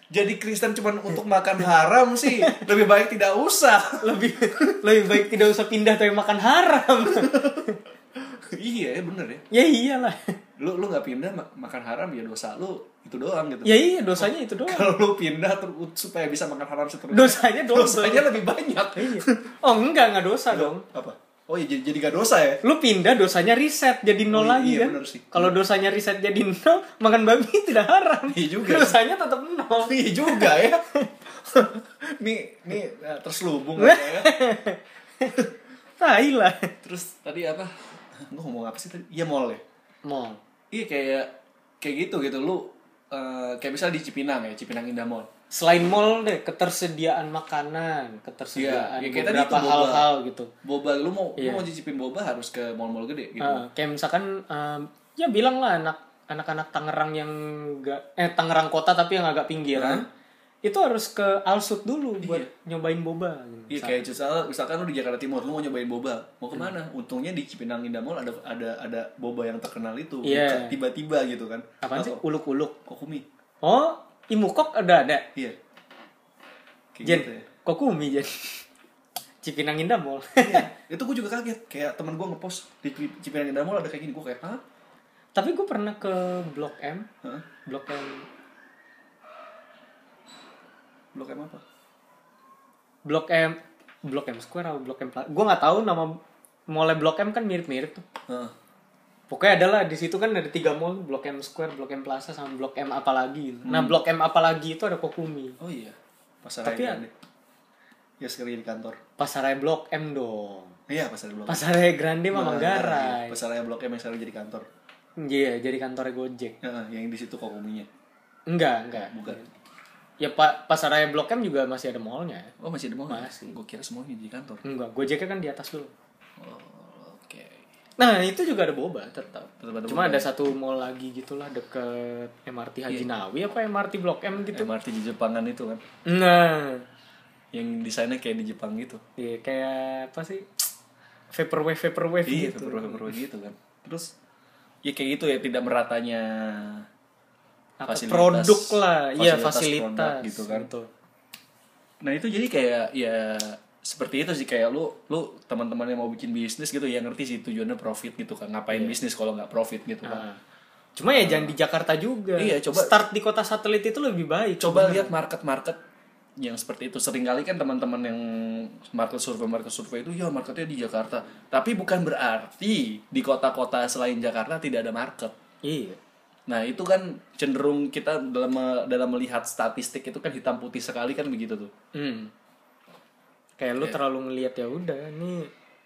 Jadi Kristen cuma untuk makan haram sih. Lebih baik tidak usah. [laughs] lebih lebih baik tidak usah pindah tapi makan haram. [laughs] iya, ya bener ya. ya iyalah. Lu lu nggak pindah ma- makan haram ya dosa lu itu doang gitu. Ya iya dosanya itu doang. Kalau lu pindah ter- supaya bisa makan haram seterusnya. Dosanya dosa. Dosanya lebih banyak. Iya. Oh enggak enggak dosa dong. Apa? Oh iya jadi, jadi gak dosa ya? Lu pindah dosanya riset jadi nol Oh, iya, lagi iya, kan? bener sih. Kalau dosanya riset jadi nol, makan babi [laughs] tidak haram. Iya juga. Dosanya tetap [laughs] nol. [laughs] Iya juga ya. nih nih eh, terselubung aja ya. Tai lah. Terus tadi apa? Gue ngomong apa sih tadi? Iya mall ya. Mall. Iya kayak kayak gitu gitu lu eh, kayak misal di Cipinang ya Cipinang Indah Mall. Selain mall deh, ketersediaan makanan, ketersediaan Iya, ya kayak tadi beberapa itu boba. hal-hal gitu. Boba lu mau lu mau cicipin boba harus ke mall-mall gede gitu. Heeh, kayak misalkan em, ya bilang lah anak anak-anak Tangerang yang enggak eh Tangerang kota tapi yang agak pinggiran itu harus ke Alsut dulu buat nyobain boba gitu. Iya kayak misalkan, misalkan lu di Jakarta Timur lu mau nyobain boba mau kemana? Untungnya di Cipinang Indah Mall ada ada ada boba yang terkenal itu Iya. Bukan tiba-tiba gitu kan. Apaan sih? Uluk-uluk. Kokumi. Oh, Imukok ada ada. Iya. Kayak Jen, gitu ya. Kokumi Jen. [laughs] Cipinang Indah Mall. [laughs] Iya. [laughs] itu gue juga kaget kayak teman gue ngepost di Cip- Cipinang Indah Mall ada kayak gini gue kayak hah? tapi gue pernah ke Blok M, Hah? Blok M, Blok M apa? Blok M, Blok M Square atau Blok M Plaza. Gue nggak tahu nama mallnya Blok M kan mirip-mirip tuh. Heeh. Pokoknya adalah di situ kan ada tiga mall, Blok M Square, Blok M Plaza, sama Blok M apalagi. Nah, Hmm. Blok M apalagi itu ada Kokumi. Oh iya. Pasar Tapi Raya Grande. Ya sekarang di kantor. Pasarnya Blok M dong. Iya pasar Blok M. Pasarnya Grande Nah, mah Manggarai. Pasar Iya, Raya Blok M yang sekarang jadi kantor. Iya, jadi kantornya Gojek. Heeh, yang di situ kokuminya. Enggak, enggak. Bukan. Ya Pak, pasarnya Blok M juga masih ada mallnya. Oh masih ada mall? Masih. Gue kira semuanya di kantor. Enggak, Gojeknya kan di atas dulu. Oh, oke. Nah, itu juga ada boba tetap. Tetap ada Cuma ada satu mall lagi gitulah deket MRT Iya. Haji Nawawi apa MRT Blok M gitu. MRT di Jepangan itu kan. Nah, Yang desainnya kayak di Jepang gitu. iya, kayak apa sih? Vaporwave, vaporwave Iya, gitu. perlu-perlu gitu kan. Terus ya kayak gitu ya tidak meratanya Apa, fasilitas- produk lah, iya produk fasilitas gitu kan. Betul. Nah itu jadi kayak ya seperti itu sih kayak lu lu teman-teman yang mau bikin bisnis gitu ya ngerti sih tujuannya profit gitu kan Iya. ngapain bisnis kalau nggak profit gitu kan Nah, Cuma ya jangan di Jakarta juga. Iya, coba- Start di kota satelit itu lebih baik. coba lihat market-market yang seperti itu seringkali kan teman-teman yang market survei market survei itu ya marketnya di Jakarta tapi bukan berarti di kota-kota selain Jakarta tidak ada market Iya. nah itu kan cenderung kita dalam me- dalam melihat statistik itu kan hitam putih sekali kan begitu tuh Hmm. Kayak Iya. lu terlalu ngelihat ya udah nih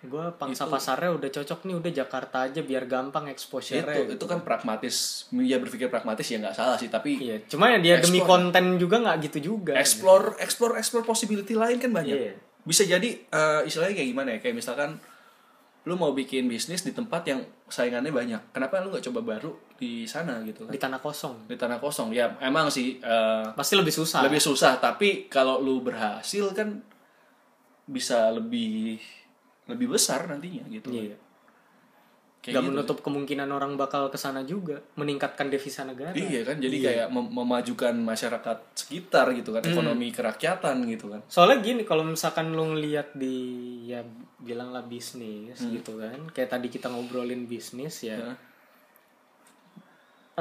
gua pangsa pasarnya udah cocok nih udah Jakarta aja biar gampang exposure-nya. itu itu kan pragmatis ya berpikir pragmatis ya nggak salah sih tapi Iya, cuma ya dia demi konten juga nggak gitu juga. explore explore explore possibility lain kan banyak Iya. bisa jadi eh, istilahnya kayak gimana ya kayak misalkan lu mau bikin bisnis di tempat yang saingannya banyak kenapa lu nggak coba baru di sana gitu kan Di tanah kosong. di tanah kosong ya emang sih eh, Pasti lebih susah. lebih susah tapi kalau lu berhasil kan bisa lebih lebih besar nantinya gitu Iya. Gak menutup kemungkinan orang bakal kesana juga, meningkatkan devisa negara. Iya kan, jadi kayak mem- memajukan masyarakat sekitar gitu kan, ekonomi kerakyatan gitu kan. Soalnya gini, kalau misalkan lu ngeliat di ya bilanglah bisnis Hmm. gitu kan, kayak tadi kita ngobrolin bisnis ya. Heeh.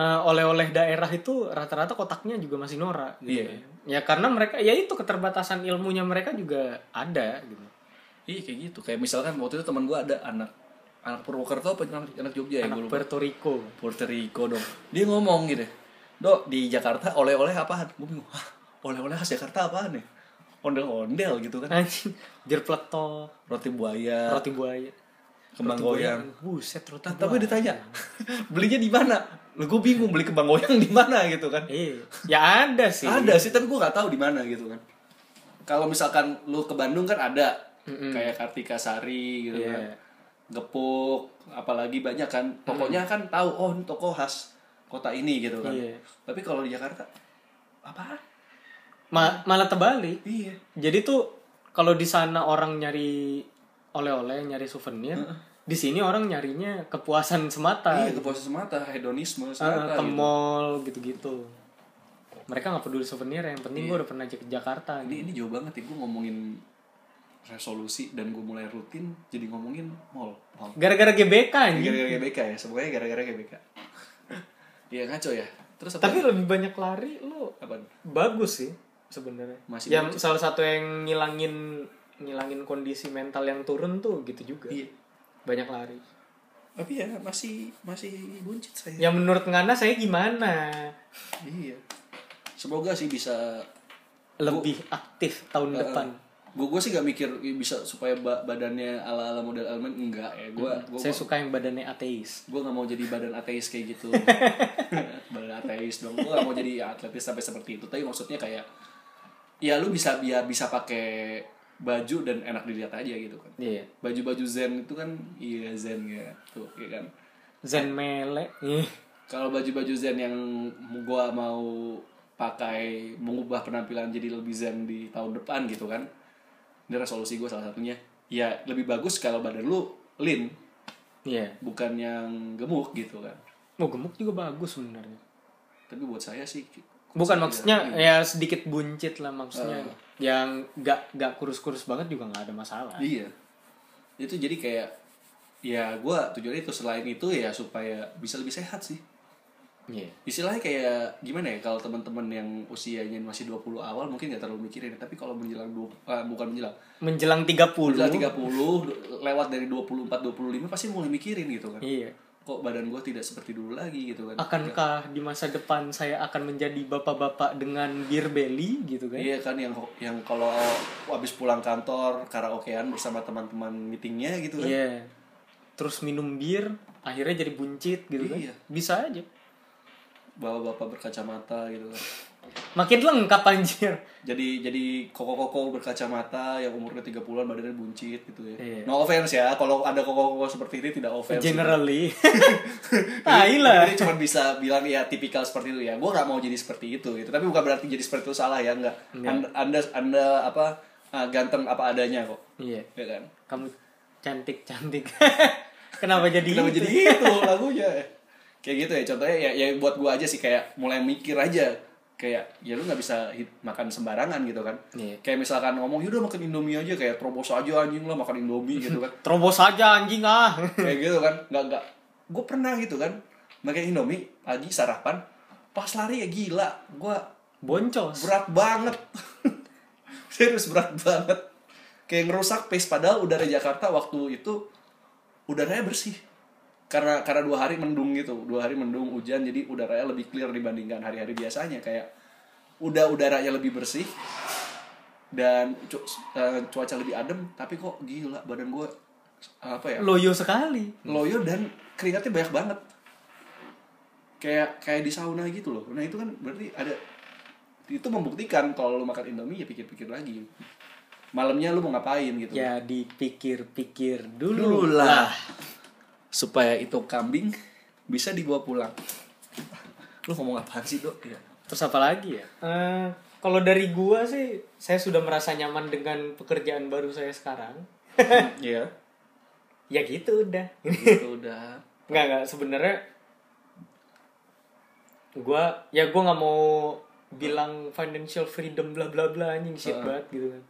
Eh, oleh-oleh daerah itu rata-rata kotaknya juga masih norak gitu. Iya. kan. Ya karena mereka ya itu keterbatasan ilmunya mereka juga ada gitu. Iya kayak gitu, kayak misalkan waktu itu teman gue ada anak anak Purwokerto apa anak, anak Jogja ya gue lupa. Puerto Rico. Puerto Rico dong. Dia ngomong gitu, dok di Jakarta oleh-oleh apaan? Gue bingung, "Hah, oleh-oleh khas Jakarta apaan ya? Ondel-ondel gitu kan, Anjing, jerpleto, roti buaya, roti buaya. kembang goyang. Buset roti Nah, buaya. tapi ditanya, [laughs] belinya di mana? Lu gue bingung beli kembang goyang di mana gitu kan? Iya. Ya ada sih. Ada sih, tapi gue nggak tahu di mana gitu kan. Kalau misalkan lu ke Bandung kan ada kayak Kartika Sari gitu kan. Iya. Gepuk, apalagi banyak kan. Tokonya kan tahu oh ini toko khas kota ini gitu kan. Iya. Tapi kalau di Jakarta apa? Ma- malah terbalik. Iya. Jadi tuh kalau di sana orang nyari oleh-oleh, nyari souvenir, di sini orang nyarinya kepuasan semata. Iya, kepuasan semata, hedonisme Eh, semata. ke gitu. mall gitu-gitu. Mereka nggak peduli souvenir, yang penting Iya. gue udah pernah aja ke Jakarta. gitu. Ini ini jauh banget ya gue ngomongin resolusi dan gue mulai rutin jadi ngomongin mall. Mall. Gara-gara GBK anjing. gara-gara GBK ya semuanya gara-gara GBK iya ngaco ya terus apa Tapi lebih banyak lari lu apa bagus sih sebenarnya. Masih Yang salah satu yang ngilangin ngilangin kondisi mental yang turun tuh gitu juga. Iya. Banyak lari. tapi ya masih masih buncit saya Ya menurut Ngana saya gimana? iya semoga sih bisa Lebih aktif tahun depan. gue gue sih gak mikir "Ih, bisa supaya ba- badannya ala ala model Alman enggak ya gue gue Saya suka yang badannya ateis. gue nggak mau jadi badan ateis kayak [laughs] gitu badan ateis dong gue nggak mau jadi atletis sampai seperti itu tapi maksudnya kayak ya lu bisa biar bisa pakai baju dan enak dilihat aja gitu kan Iya. baju-baju zen itu kan iya zen ya tuh ya kan Zen mele. Iya. Ih. kalau baju-baju zen yang gua mau pakai mengubah penampilan jadi lebih zen di tahun depan gitu kan ini resolusi gua salah satunya ya lebih bagus kalau badan lu lean Iya. bukan yang gemuk gitu kan Mau gemuk juga bagus sebenarnya. tapi buat saya sih iya. Oh. Bukan maksudnya ya sedikit buncit lah maksudnya. Yang gak gak kurus-kurus banget juga nggak ada masalah. iya itu jadi kayak ya gua tujuannya itu selain itu ya supaya bisa lebih sehat sih Iya. istilahnya kayak gimana ya kalau teman-teman yang usianya masih 20 awal mungkin nggak terlalu mikirin tapi kalau menjelang 20, ah, bukan menjelang Menjelang 30. menjelang 30 du- lewat dari 24 25 pasti mulai mikirin gitu kan Iya. kok badan gua tidak seperti dulu lagi gitu kan Akankah di masa depan saya akan menjadi bapak-bapak dengan beer belly gitu kan? iya kan yang yang kalau habis pulang kantor karaokean bersama teman-teman meetingnya gitu kan Iya. Terus minum bir, akhirnya jadi buncit gitu kan? Iya. Bisa aja. bawa bapak berkacamata gitu kan Makin lengkap anjir. jadi jadi koko-koko berkacamata yang umurnya 30-an badannya buncit gitu ya. Iya. No offense ya, kalau ada koko-koko seperti ini tidak offense. [laughs] Generally. Tai lah. Jadi cuma bisa bilang ya tipikal seperti itu ya. Gue nggak mau jadi seperti itu gitu. Tapi bukan berarti jadi seperti itu salah ya enggak. Iya. Anda, anda Anda apa uh, ganteng apa adanya kok. Iya. Ya kan. Kamu cantik-cantik. [laughs] Kenapa jadi gitu. Kenapa itu? jadi [laughs] itu lagunya? Kayak gitu ya contohnya ya, ya buat gue aja sih kayak mulai mikir aja kayak ya lu nggak bisa hid- makan sembarangan gitu kan Iya. kayak misalkan ngomong yaudah makan indomie aja kayak terobos aja anjing lah makan indomie gitu [laughs] kan Terobos aja anjing ah. kayak gitu kan nggak nggak gue pernah gitu kan makan indomie pagi sarapan pas lari ya gila gue Boncos. berat banget [laughs] serius berat banget kayak ngerusak pace padahal udara Jakarta waktu itu udaranya bersih karena karena dua hari mendung gitu dua hari mendung hujan jadi udaranya lebih clear dibandingkan hari-hari biasanya kayak udah udaranya lebih bersih dan cu- eh, cuaca lebih adem tapi kok gila badan gue apa ya Loyo sekali. loyo dan keringatnya banyak banget kayak kayak di sauna gitu loh nah itu kan berarti ada itu membuktikan kalau lu makan indomie ya pikir-pikir lagi malamnya lu mau ngapain gitu Ya dipikir-pikir dulu. dulu lah supaya itu kambing bisa dibawa pulang lu ngomong apaan sih dok ya. Terus apa lagi ya? Eh, kalau dari gua sih, saya sudah merasa nyaman dengan pekerjaan baru saya sekarang. Iya. ya gitu udah. itu udah Nggak, nggak. Sebenarnya gua ya gua nggak mau bilang financial freedom bla bla bla anjing shit banget gitu kan.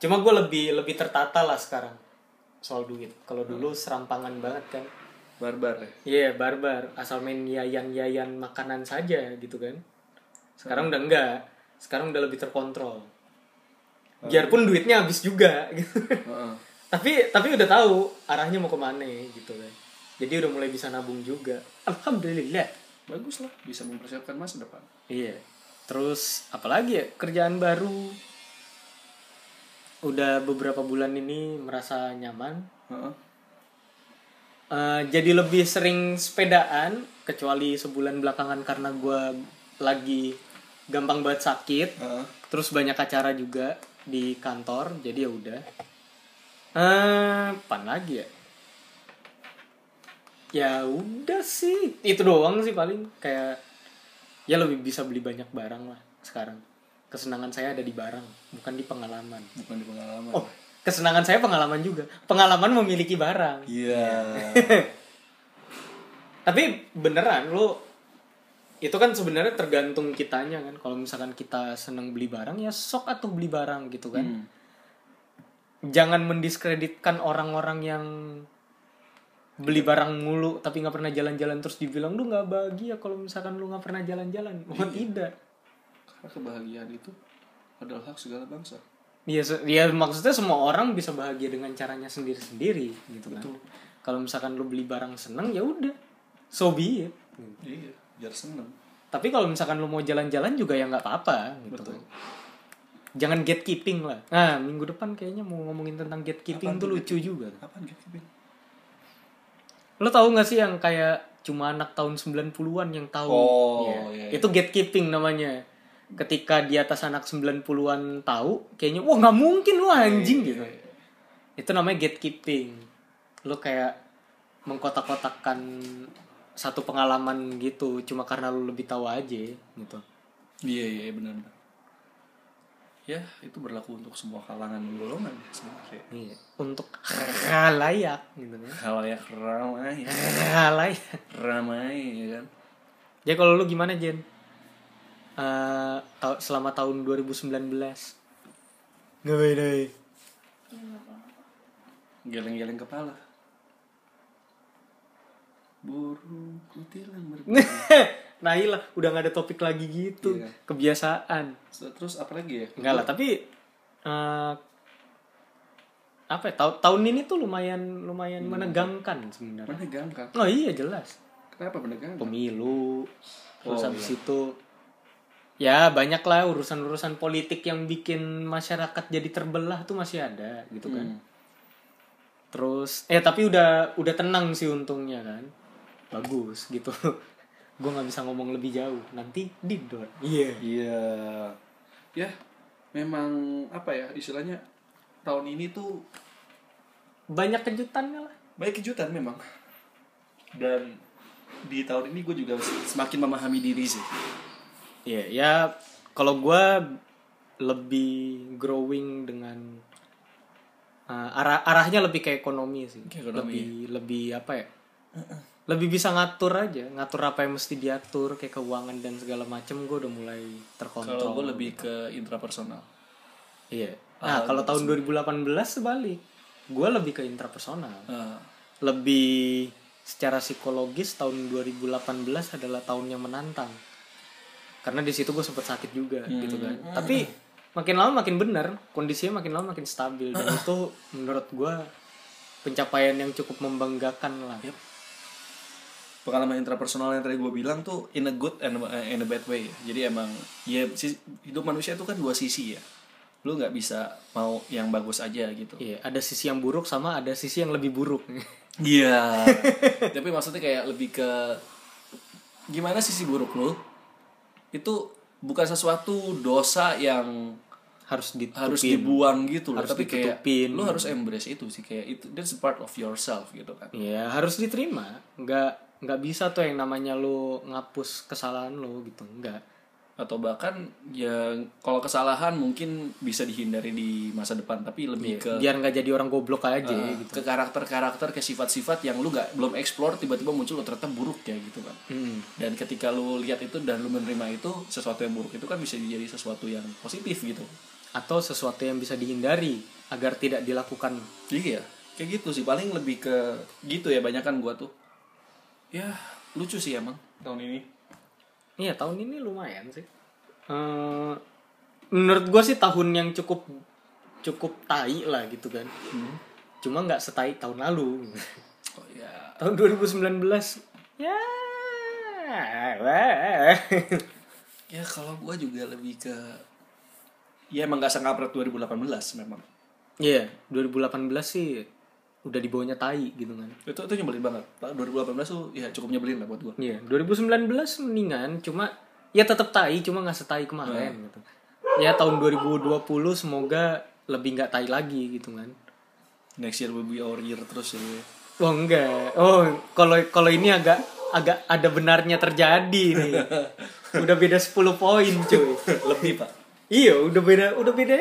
Cuma gua lebih lebih tertata lah sekarang soal duit. Kalau dulu serampangan banget kan. barbar ya Iya, barbar. Asal main yayan-yayan makanan saja gitu kan. Sekarang udah enggak. Sekarang udah lebih terkontrol. Biarpun duitnya habis juga [laughs] gitu. Heeh. tapi tapi udah tahu arahnya mau kemana gitu kan. Jadi udah mulai bisa nabung juga. Alhamdulillah. bagus lah bisa mempersiapkan masa depan Iya. Terus apalagi ya kerjaan baru. Udah beberapa bulan ini merasa nyaman. Heeh. Eh, jadi lebih sering sepedaan kecuali sebulan belakangan karena gua lagi gampang banget sakit Heeh. terus banyak acara juga di kantor jadi ya udah eh pan lagi ya ya udah sih itu doang sih paling kayak ya lebih bisa beli banyak barang lah sekarang kesenangan saya ada di barang bukan di pengalaman bukan di pengalaman oh kesenangan saya pengalaman juga pengalaman memiliki barang iya [laughs] Tapi beneran lu itu kan sebenarnya tergantung kitanya kan. Kalau misalkan kita seneng beli barang ya sok atau beli barang gitu kan. Hmm. Jangan mendiskreditkan orang-orang yang beli barang mulu tapi nggak pernah jalan-jalan terus dibilang lu nggak bahagia kalau misalkan lu nggak pernah jalan-jalan. Oh, tidak. karena kebahagiaan itu adalah hak segala bangsa Ya, se- ya maksudnya semua orang bisa bahagia dengan caranya sendiri-sendiri gitu kan. Kalau misalkan lu beli barang seneng ya udah. So be it. iya biar seneng Tapi kalau misalkan lu mau jalan-jalan juga ya nggak apa-apa gitu. Betul. Jangan gatekeeping lah. Nah, minggu depan kayaknya mau ngomongin tentang gatekeeping Apaan tuh tuh lucu juga. apaan gitu Bin? Lo tahu nggak sih yang kayak cuma anak tahun 90-an yang tahu? Oh, Ya. iya, iya. Itu gatekeeping namanya. Ketika di atas anak 90-an tahu, kayaknya wah nggak mungkin lu anjing Iya, gitu. Itu namanya gatekeeping. Lo kayak mengkotak-kotakan satu pengalaman gitu cuma karena lu lebih tahu aja gitu. iya iya benar benar ya itu berlaku untuk semua kalangan dan golongan ya sebenarnya Iya. Untuk halayak gitu kan. [laughs] halayak ramai ya. Halayak. ramai ya kan Ya kalau lu gimana Jen? Eh, ta- selama tahun 2019 Ngapain deh? geleng-geleng kepala burung kutilang berbunyi [laughs] nah iyalah, udah gak ada topik lagi gitu Iya. Kebiasaan terus apa lagi ya Enggak lah, tapi eh, Apa ya, ta- tahun ini tuh lumayan lumayan menegangkan sebenarnya menegangkan Iya. Oh iya jelas kenapa menegangkan pemilu terus Oh, habis itu ya banyak lah urusan-urusan politik yang bikin masyarakat jadi terbelah tuh masih ada gitu kan Hmm. terus eh tapi udah udah tenang sih untungnya kan bagus gitu [laughs] gue nggak bisa ngomong lebih jauh nanti di door iya Iya. Ya, memang apa ya istilahnya tahun ini tuh banyak kejutannya lah banyak kejutan memang. Dan di tahun ini gue juga semakin memahami diri sih. Iya, ya kalau gue lebih growing dengan uh, arah arahnya lebih ke ekonomi sih, Ke ekonomi, lebih lebih apa ya? Lebih bisa ngatur aja, ngatur apa yang mesti diatur, kayak keuangan dan segala macem gue udah mulai terkontrol. Kalau gue lebih ke intrapersonal. Iya. Ah, Nah kalau tahun 2018 sebalik, gue lebih ke intrapersonal, Eh, lebih secara psikologis tahun 2018 adalah tahun yang menantang karena di situ gue sempet sakit juga Hmm. gitu kan tapi makin lama makin bener kondisinya makin lama makin stabil Hmm. dan itu menurut gue pencapaian yang cukup membanggakan lah pengalaman intrapersonal yang tadi gue bilang tuh in a good and eh, in a bad way. ya. Jadi emang ya si- hidup manusia itu kan dua sisi ya. Lu nggak bisa mau yang bagus aja gitu. iya ada sisi yang buruk sama ada sisi yang lebih buruk [laughs] [laughs] Iya. Tapi maksudnya kayak lebih ke gimana sisi buruk lu? Itu bukan sesuatu dosa yang harus ditutupin harus dibuang gitu loh, Harus tapi kayak ditutupin. lu harus embrace itu sih kayak itu that's a part of yourself gitu kan. Iya harus diterima nggak nggak bisa tuh yang namanya lo ngapus kesalahan lo gitu nggak atau bahkan ya kalau kesalahan mungkin bisa dihindari di masa depan tapi lebih ke Ah. biar nggak jadi orang goblok aja Iya. gitu. ke karakter-karakter ke sifat-sifat yang lu nggak belum explore tiba-tiba muncul oh, ternyata buruk ya gitu kan Hmm. dan ketika lu lihat itu dan lu menerima itu sesuatu yang buruk itu kan bisa jadi sesuatu yang positif gitu Atau sesuatu yang bisa dihindari agar tidak dilakukan. Iya, kayak gitu sih paling lebih ke gitu ya banyak kan gua tuh. Ya, lucu sih emang tahun ini. Iya tahun ini lumayan sih. Eh, menurut gue sih tahun yang cukup cukup tai lah gitu kan. Cuma nggak setai tahun lalu. [laughs] Oh ya, tahun 2019 ya wah. ya kalau gua juga lebih ke ya emang gak sengapret 2018 memang. Iya, 2018 sih udah dibawanya tai gitu kan. Itu itu nyebelin banget. Pak, 2018 tuh ya cukup nyebelin lah buat gua. Iya, 2019 mendingan cuma ya tetap tai cuma nggak setai kemarin gitu. Ya tahun 2020 semoga lebih nggak tai lagi gitu kan. Next year will be our year terus ya. Oh enggak. Oh, kalau kalau ini agak agak ada benarnya terjadi nih. Udah beda 10 poin, cuy. lebih, Pak. Iya, udah beda udah beda.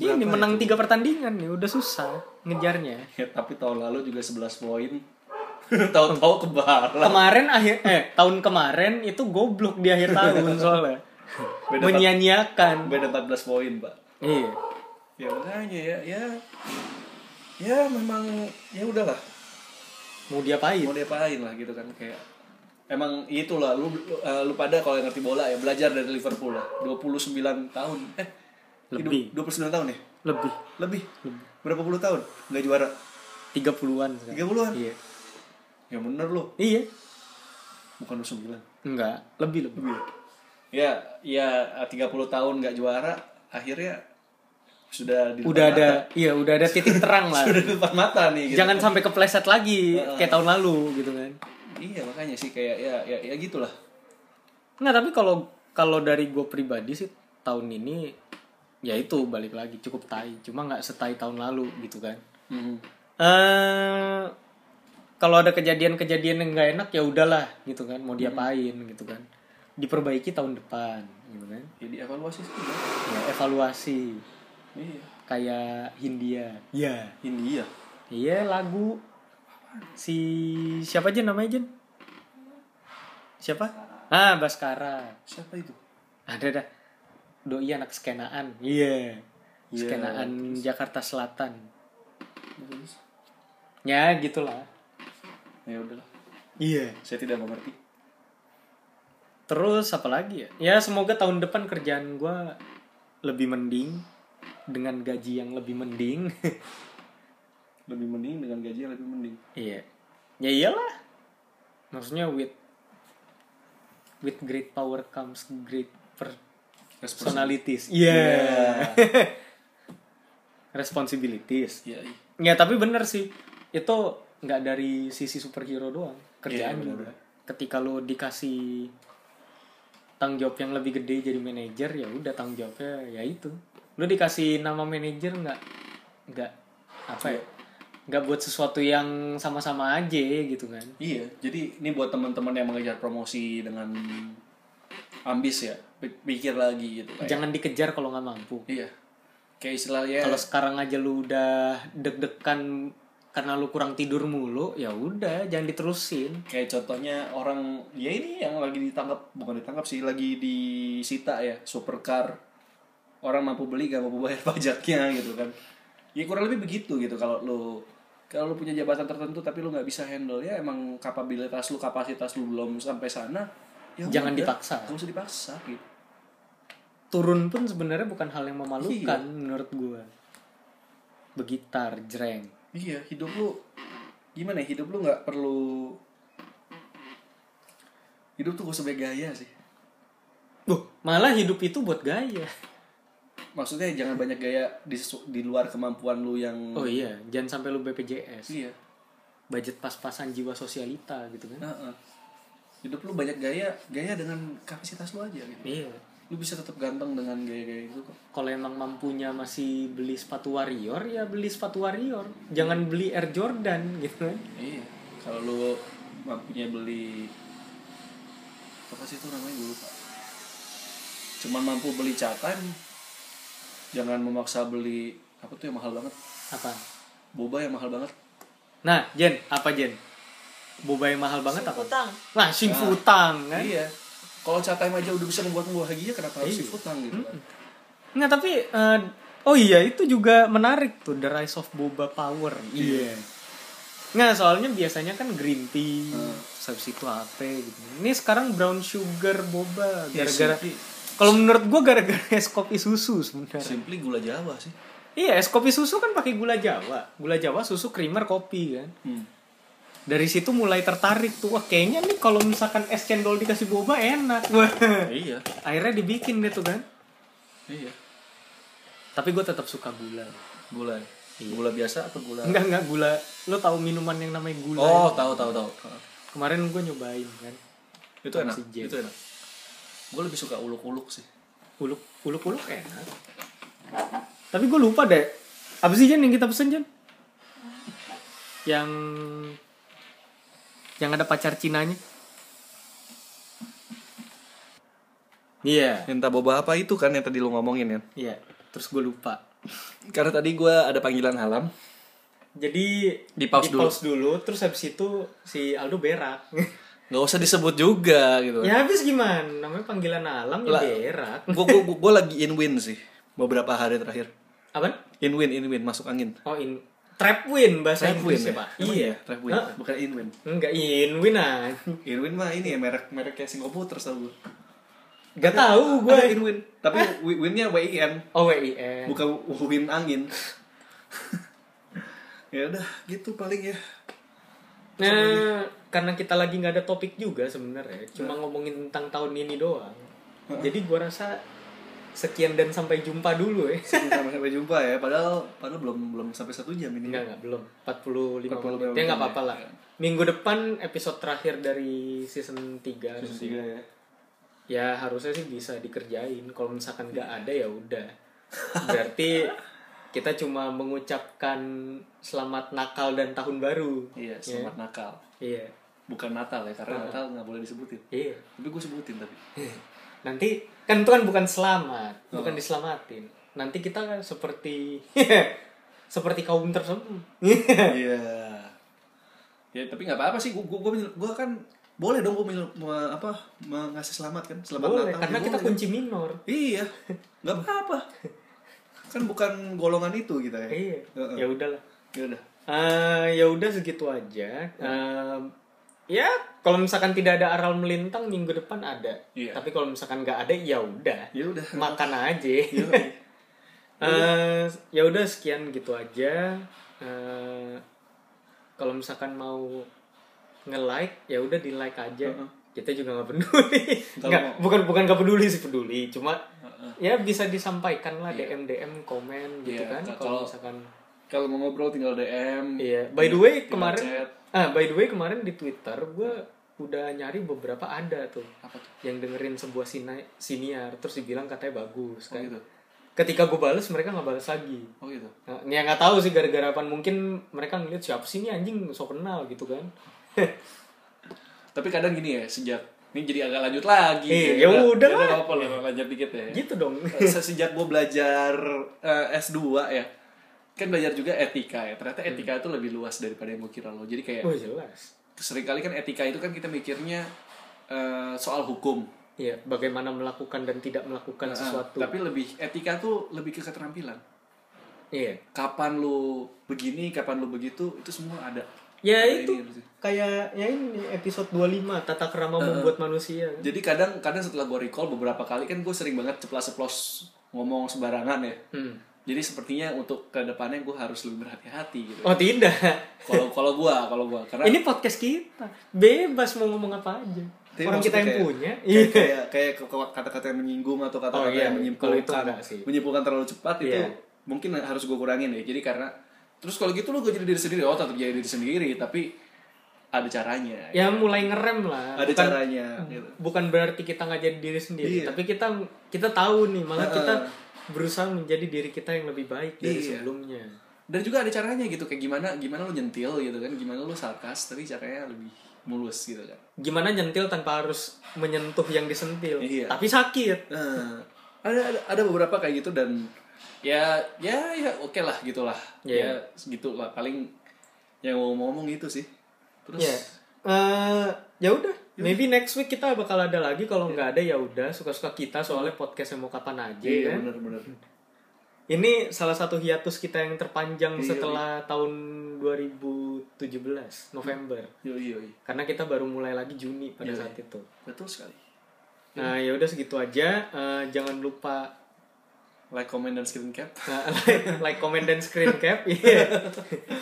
Ini menang tiga pertandingan nih, udah susah ngejarnya. Ya, tapi tahun lalu juga 11 poin. [laughs] Tahu-tahu kebalan. Kemarin akhir eh tahun kemarin itu goblok di akhir tahun soalnya. Beda Menyanyiakan. Beda 14 poin, Pak. Iya. ya makanya ya ya ya memang ya udahlah Mau diapain? mau diapain lah gitu kan kayak emang itulah lu lu, eh, lu pada kalau yang ngerti bola ya belajar dari Liverpool lah 29 tahun eh Lebih. hidup 29 tahun ya Lebih lebih berapa puluh tahun nggak juara 30-an sekarang. 30-an Iya. ya bener lu Iya. bukan 29 Enggak, lebih lebih. lebih ya ya 30 tahun nggak juara akhirnya sudah di depan Udah ada mata. iya, udah ada titik terang lah. [laughs] sudah di depan mata nih gitu. Jangan sampai kepleset lagi kayak tahun lalu gitu kan. iya makanya sih kayak ya ya ya gitulah Nggak, tapi kalau kalau dari gue pribadi sih tahun ini ya itu balik lagi cukup tai cuma nggak setai tahun lalu gitu kan eh kalau ada kejadian-kejadian yang nggak enak ya udahlah gitu kan mau diapain gitu kan diperbaiki tahun depan gitu kan jadi evaluasi Ya sih udah. ya, evaluasi iya kayak Hindia ya India iya lagu si siapa aja namanya Jen siapa ah Baskara siapa itu ada dah doi anak skenaan iya Iya, skenaan Jakarta Selatan ya gitulah ya udahlah iya saya tidak mengerti terus apa lagi ya ya semoga tahun depan kerjaan gua lebih mending dengan gaji yang lebih mending [laughs] lebih mending dengan gaji yang lebih mending iya ya iyalah maksudnya with with great power comes great personalities iya responsibilities ya Ya tapi bener sih itu nggak dari sisi superhero doang kerjaan juga. Ketika lo dikasih tanggung jawab yang lebih gede jadi manajer ya udah tanggung jawabnya ya itu. Lo dikasih nama manajer nggak nggak apa ya nggak buat sesuatu yang sama-sama aja gitu kan? iya jadi ini buat teman-teman yang mengejar promosi dengan ambis ya pi- pikir lagi gitu kayak Jangan dikejar kalau nggak mampu. iya kayak istilahnya Kalau sekarang aja lu udah deg-degan karena lu kurang tidur mulu, ya udah jangan diterusin. kayak contohnya orang ya ini yang lagi ditangkap bukan ditangkap sih lagi disita ya supercar orang mampu beli gak mampu bayar [laughs] pajaknya gitu kan ya kurang lebih begitu gitu kalau lo kalau lo punya jabatan tertentu tapi lo nggak bisa handle ya emang kapabilitas lo kapasitas lo belum sampai sana ya Jangan udah, dipaksa. nggak usah dipaksa gitu turun pun sebenarnya bukan hal yang memalukan menurut gue begitar jreng iya hidup lo gimana ya hidup lo nggak perlu hidup tuh gak usah banyak gaya sih Duh, malah hidup itu buat gaya maksudnya jangan banyak gaya di sesu- di luar kemampuan lu yang oh iya jangan sampai lu BPJS iya budget pas-pasan jiwa sosialita gitu kan Heeh. hidup lu banyak gaya gaya dengan kapasitas lu aja gitu iya lu bisa tetap ganteng dengan gaya-gaya itu kok kalau emang mampunya masih beli sepatu warrior ya beli sepatu warrior jangan beli Air Jordan gitu kan iya kalau lu mampunya beli apa sih itu namanya gue lupa cuman mampu beli catan jangan memaksa beli apa tuh yang mahal banget Apa? boba yang mahal banget Nah, Jen, apa Jen? Boba yang mahal banget apa? Utang. Nah, sing futang kan? iya kalau catan aja udah bisa membuat bahagia kenapa Iya. harus utang gitu kan Nggak, tapi eh, oh iya itu juga menarik tuh The Rise of Boba Power. Iya. Nggak, soalnya biasanya kan green tea, habis itu apa gitu. Ini sekarang brown sugar boba Iya gara-gara simply- kalau menurut gua gara-gara es kopi susu sebenarnya. simply gula jawa sih Iya, es kopi susu kan pakai gula Jawa. Gula Jawa, susu, creamer, kopi kan. hmm. Dari situ mulai tertarik tuh. Wah, kayaknya nih kalau misalkan es cendol dikasih boba enak. [laughs] Wah. iya Akhirnya dibikin deh tuh kan. iya Tapi gue tetap suka gula. gula gula biasa atau gula Enggak enggak gula. Lo tahu minuman yang namanya gula? oh tahu tahu tahu Kemarin gue nyobain kan. itu enak Si Jen. itu enak gue lebih suka uluk uluk sih Uluk uluk uluk enak. Tapi gue lupa deh. Apa sih Jen yang kita pesen Jen? Yang yang ada pacar Cinanya. Iya. minta boba apa itu kan yang tadi lu ngomongin ya Iya. Terus gue lupa. karena tadi gue ada panggilan halam Jadi Di pause dulu. dulu, Terus habis itu si Aldo [laughs] berak. nggak usah disebut juga gitu ya habis gimana? Namanya panggilan alam ya Lah. berak. gue gue gue lagi in win sih beberapa hari terakhir Apa? in win in win masuk angin Oh in trap win bahasa Trap win Inggris ya ya pak? iya trap win Hah? bukan in win Enggak in win ah. in win mah ini ya merek merek kayak Singapura terus tahu gue Gak tahu gue. in win tapi wi- winnya w i n Oh WIN. bukan win [laughs] angin ya udah gitu paling ya Nah karena kita lagi nggak ada topik juga sebenarnya, cuma ngomongin tentang tahun ini doang. Jadi gua rasa sekian dan sampai jumpa dulu ya. [laughs] sampai sampai jumpa ya padahal padahal belum belum sampai satu jam ini Enggak, enggak, belum. 45 45 menit. Ya enggak menit, apa-apa lah. ya. Minggu depan episode terakhir dari season 3 Terus juga ya Ya harusnya sih bisa dikerjain. Kalau misalkan nggak ada ya [laughs] udah. Berarti kita cuma mengucapkan selamat nakal dan tahun baru. Ya? iya selamat nakal Iya. bukan Natal ya karena Natal nggak boleh disebutin Iya. tapi gue sebutin tapi Nanti kan itu kan bukan selamat, Oh. bukan diselamatin. Nanti kita kan seperti [laughs] seperti kaum [laughs] tersebut. Iya. Ya tapi nggak apa-apa sih. Gue gue gue kan boleh dong gue apa mengasih selamat kan selamat boleh, Natal. karena Ya, kita boleh. kunci minor. Iya. Nggak apa-apa. kan bukan golongan itu kita ya. Iya. Heeh. Ya udahlah. Ya udah. Eh, ya udah segitu aja. Eh, ya kalau misalkan tidak ada aral melintang minggu depan ada. Iya. Tapi kalau misalkan nggak ada ya udah. Ya udah. Makan aja. Iya. [laughs] Eh, ya udah sekian gitu aja. Eh, kalau misalkan mau nge-like ya udah di-like aja. Kita juga nggak [laughs] peduli. Kalau Nggak, mau- bukan bukan nggak peduli sih peduli, cuma ya bisa disampaikan lah DM DM komen gitu Iya, kan kalau- kalau misalkan Kalau mau ngobrol tinggal DM. Iya, by the way Tinggal kemarin chat. ah by the way kemarin di Twitter gue udah nyari beberapa ada tuh Apa tuh? yang dengerin sebuah sina- siniar terus dibilang katanya bagus Oh kan. gitu. Ketika gue bales mereka nggak bales lagi. Oh gitu. Nah, ya nggak tahu sih gara-gara apa mungkin mereka ngeliat siapa sih ini anjing so kenal gitu [laughs] kan. Tapi kadang gini ya sejak ini jadi agak lanjut lagi. Iya, ya udah lah. nggak apa-apa lah lanjut dikit ya. gitu dong. Se- sejak gue belajar eh, S2 ya kan belajar juga etika ya Hmm. ternyata etika itu lebih luas daripada yang gue kira lo jadi kayak [laughs] Oh jelas. seringkali kan etika itu kan kita mikirnya eh, soal hukum Iya, bagaimana melakukan dan tidak melakukan sesuatu. Eh, tapi lebih etika tuh lebih ke keterampilan Iya. kapan lu begini kapan lu begitu itu semua ada Ya Ada itu ini harusnya. kayak ya ini episode 25 tata kerama membuat manusia. kan. jadi kadang kadang setelah gue recall beberapa kali kan gue sering banget ceplas ceplos ngomong sembarangan ya Hmm. jadi sepertinya untuk kedepannya gue harus lebih berhati-hati gitu Oh tidak. kalau kalau gue kalau gue karena Ini podcast kita. Bebas mau ngomong apa aja. Tapi Orang kita maksudnya yang kayak- punya. Iya. kayak kayak- kayak ke- ke- kata-kata yang menyinggung atau Oh, kata-kata iya. yang Kalau itu menyimpulkan enggak sih. menyimpulkan terlalu cepat itu Iya. mungkin harus gue kurangin ya jadi karena terus kalau gitu lu gue jadi diri sendiri oh tetap jadi diri sendiri tapi ada caranya Ya mulai ngerem lah. ada bukan, Hmm. caranya gitu. bukan berarti kita nggak jadi diri sendiri, Iya. tapi kita kita tahu nih malah Heeh. kita berusaha menjadi diri kita yang lebih baik dari Iya. sebelumnya. dan juga ada caranya gitu kayak gimana gimana lu nyentil gitu kan gimana lu sarkas tapi caranya lebih mulus gitu kan Gimana nyentil tanpa harus menyentuh yang disentil. Iya. Tapi sakit. Eh, ada, ada ada beberapa kayak gitu dan ya ya ya oke lah gitulah Iya. ya segitu lah paling yang mau ngomong itu sih terus Ya. Eh, ya udah. Maybe next week kita bakal ada lagi Iya. kalau nggak ada ya udah suka-suka kita soalnya podcastnya mau kapan aja iya kan. bener-bener Ini salah satu hiatus kita yang terpanjang Iya, setelah tahun 2017 November. yoi yoi Karena kita baru mulai lagi Juni pada Iya. saat itu. betul sekali Nah, ya udah segitu aja. Eh, jangan lupa like comment dan skin cap eh, [laughs] like, like, comment dan screen [laughs] cap. Iya.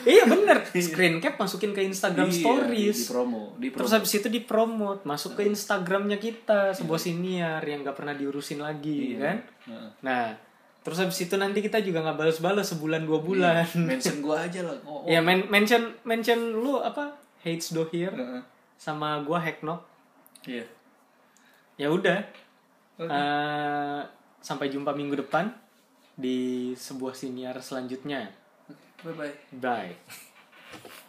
iya bener. Screen cap masukin ke Instagram Iya, Stories. di, di promo di Iya. promo Terus habis itu dipromot, masuk ke Instagramnya kita, Iya. sebuah siniar yang gak pernah diurusin lagi, kan? [laughs] Heeh. Nah, terus habis itu nanti kita juga nggak balas-balas sebulan dua bulan. mention gua aja lah oh, oh. ya men- mention mention lu apa? Hates Dohir Heeh. sama gua Hacknock. iya Ya udah. Oke. Eh, sampai jumpa minggu depan di sebuah siniar selanjutnya. bye bye Bye.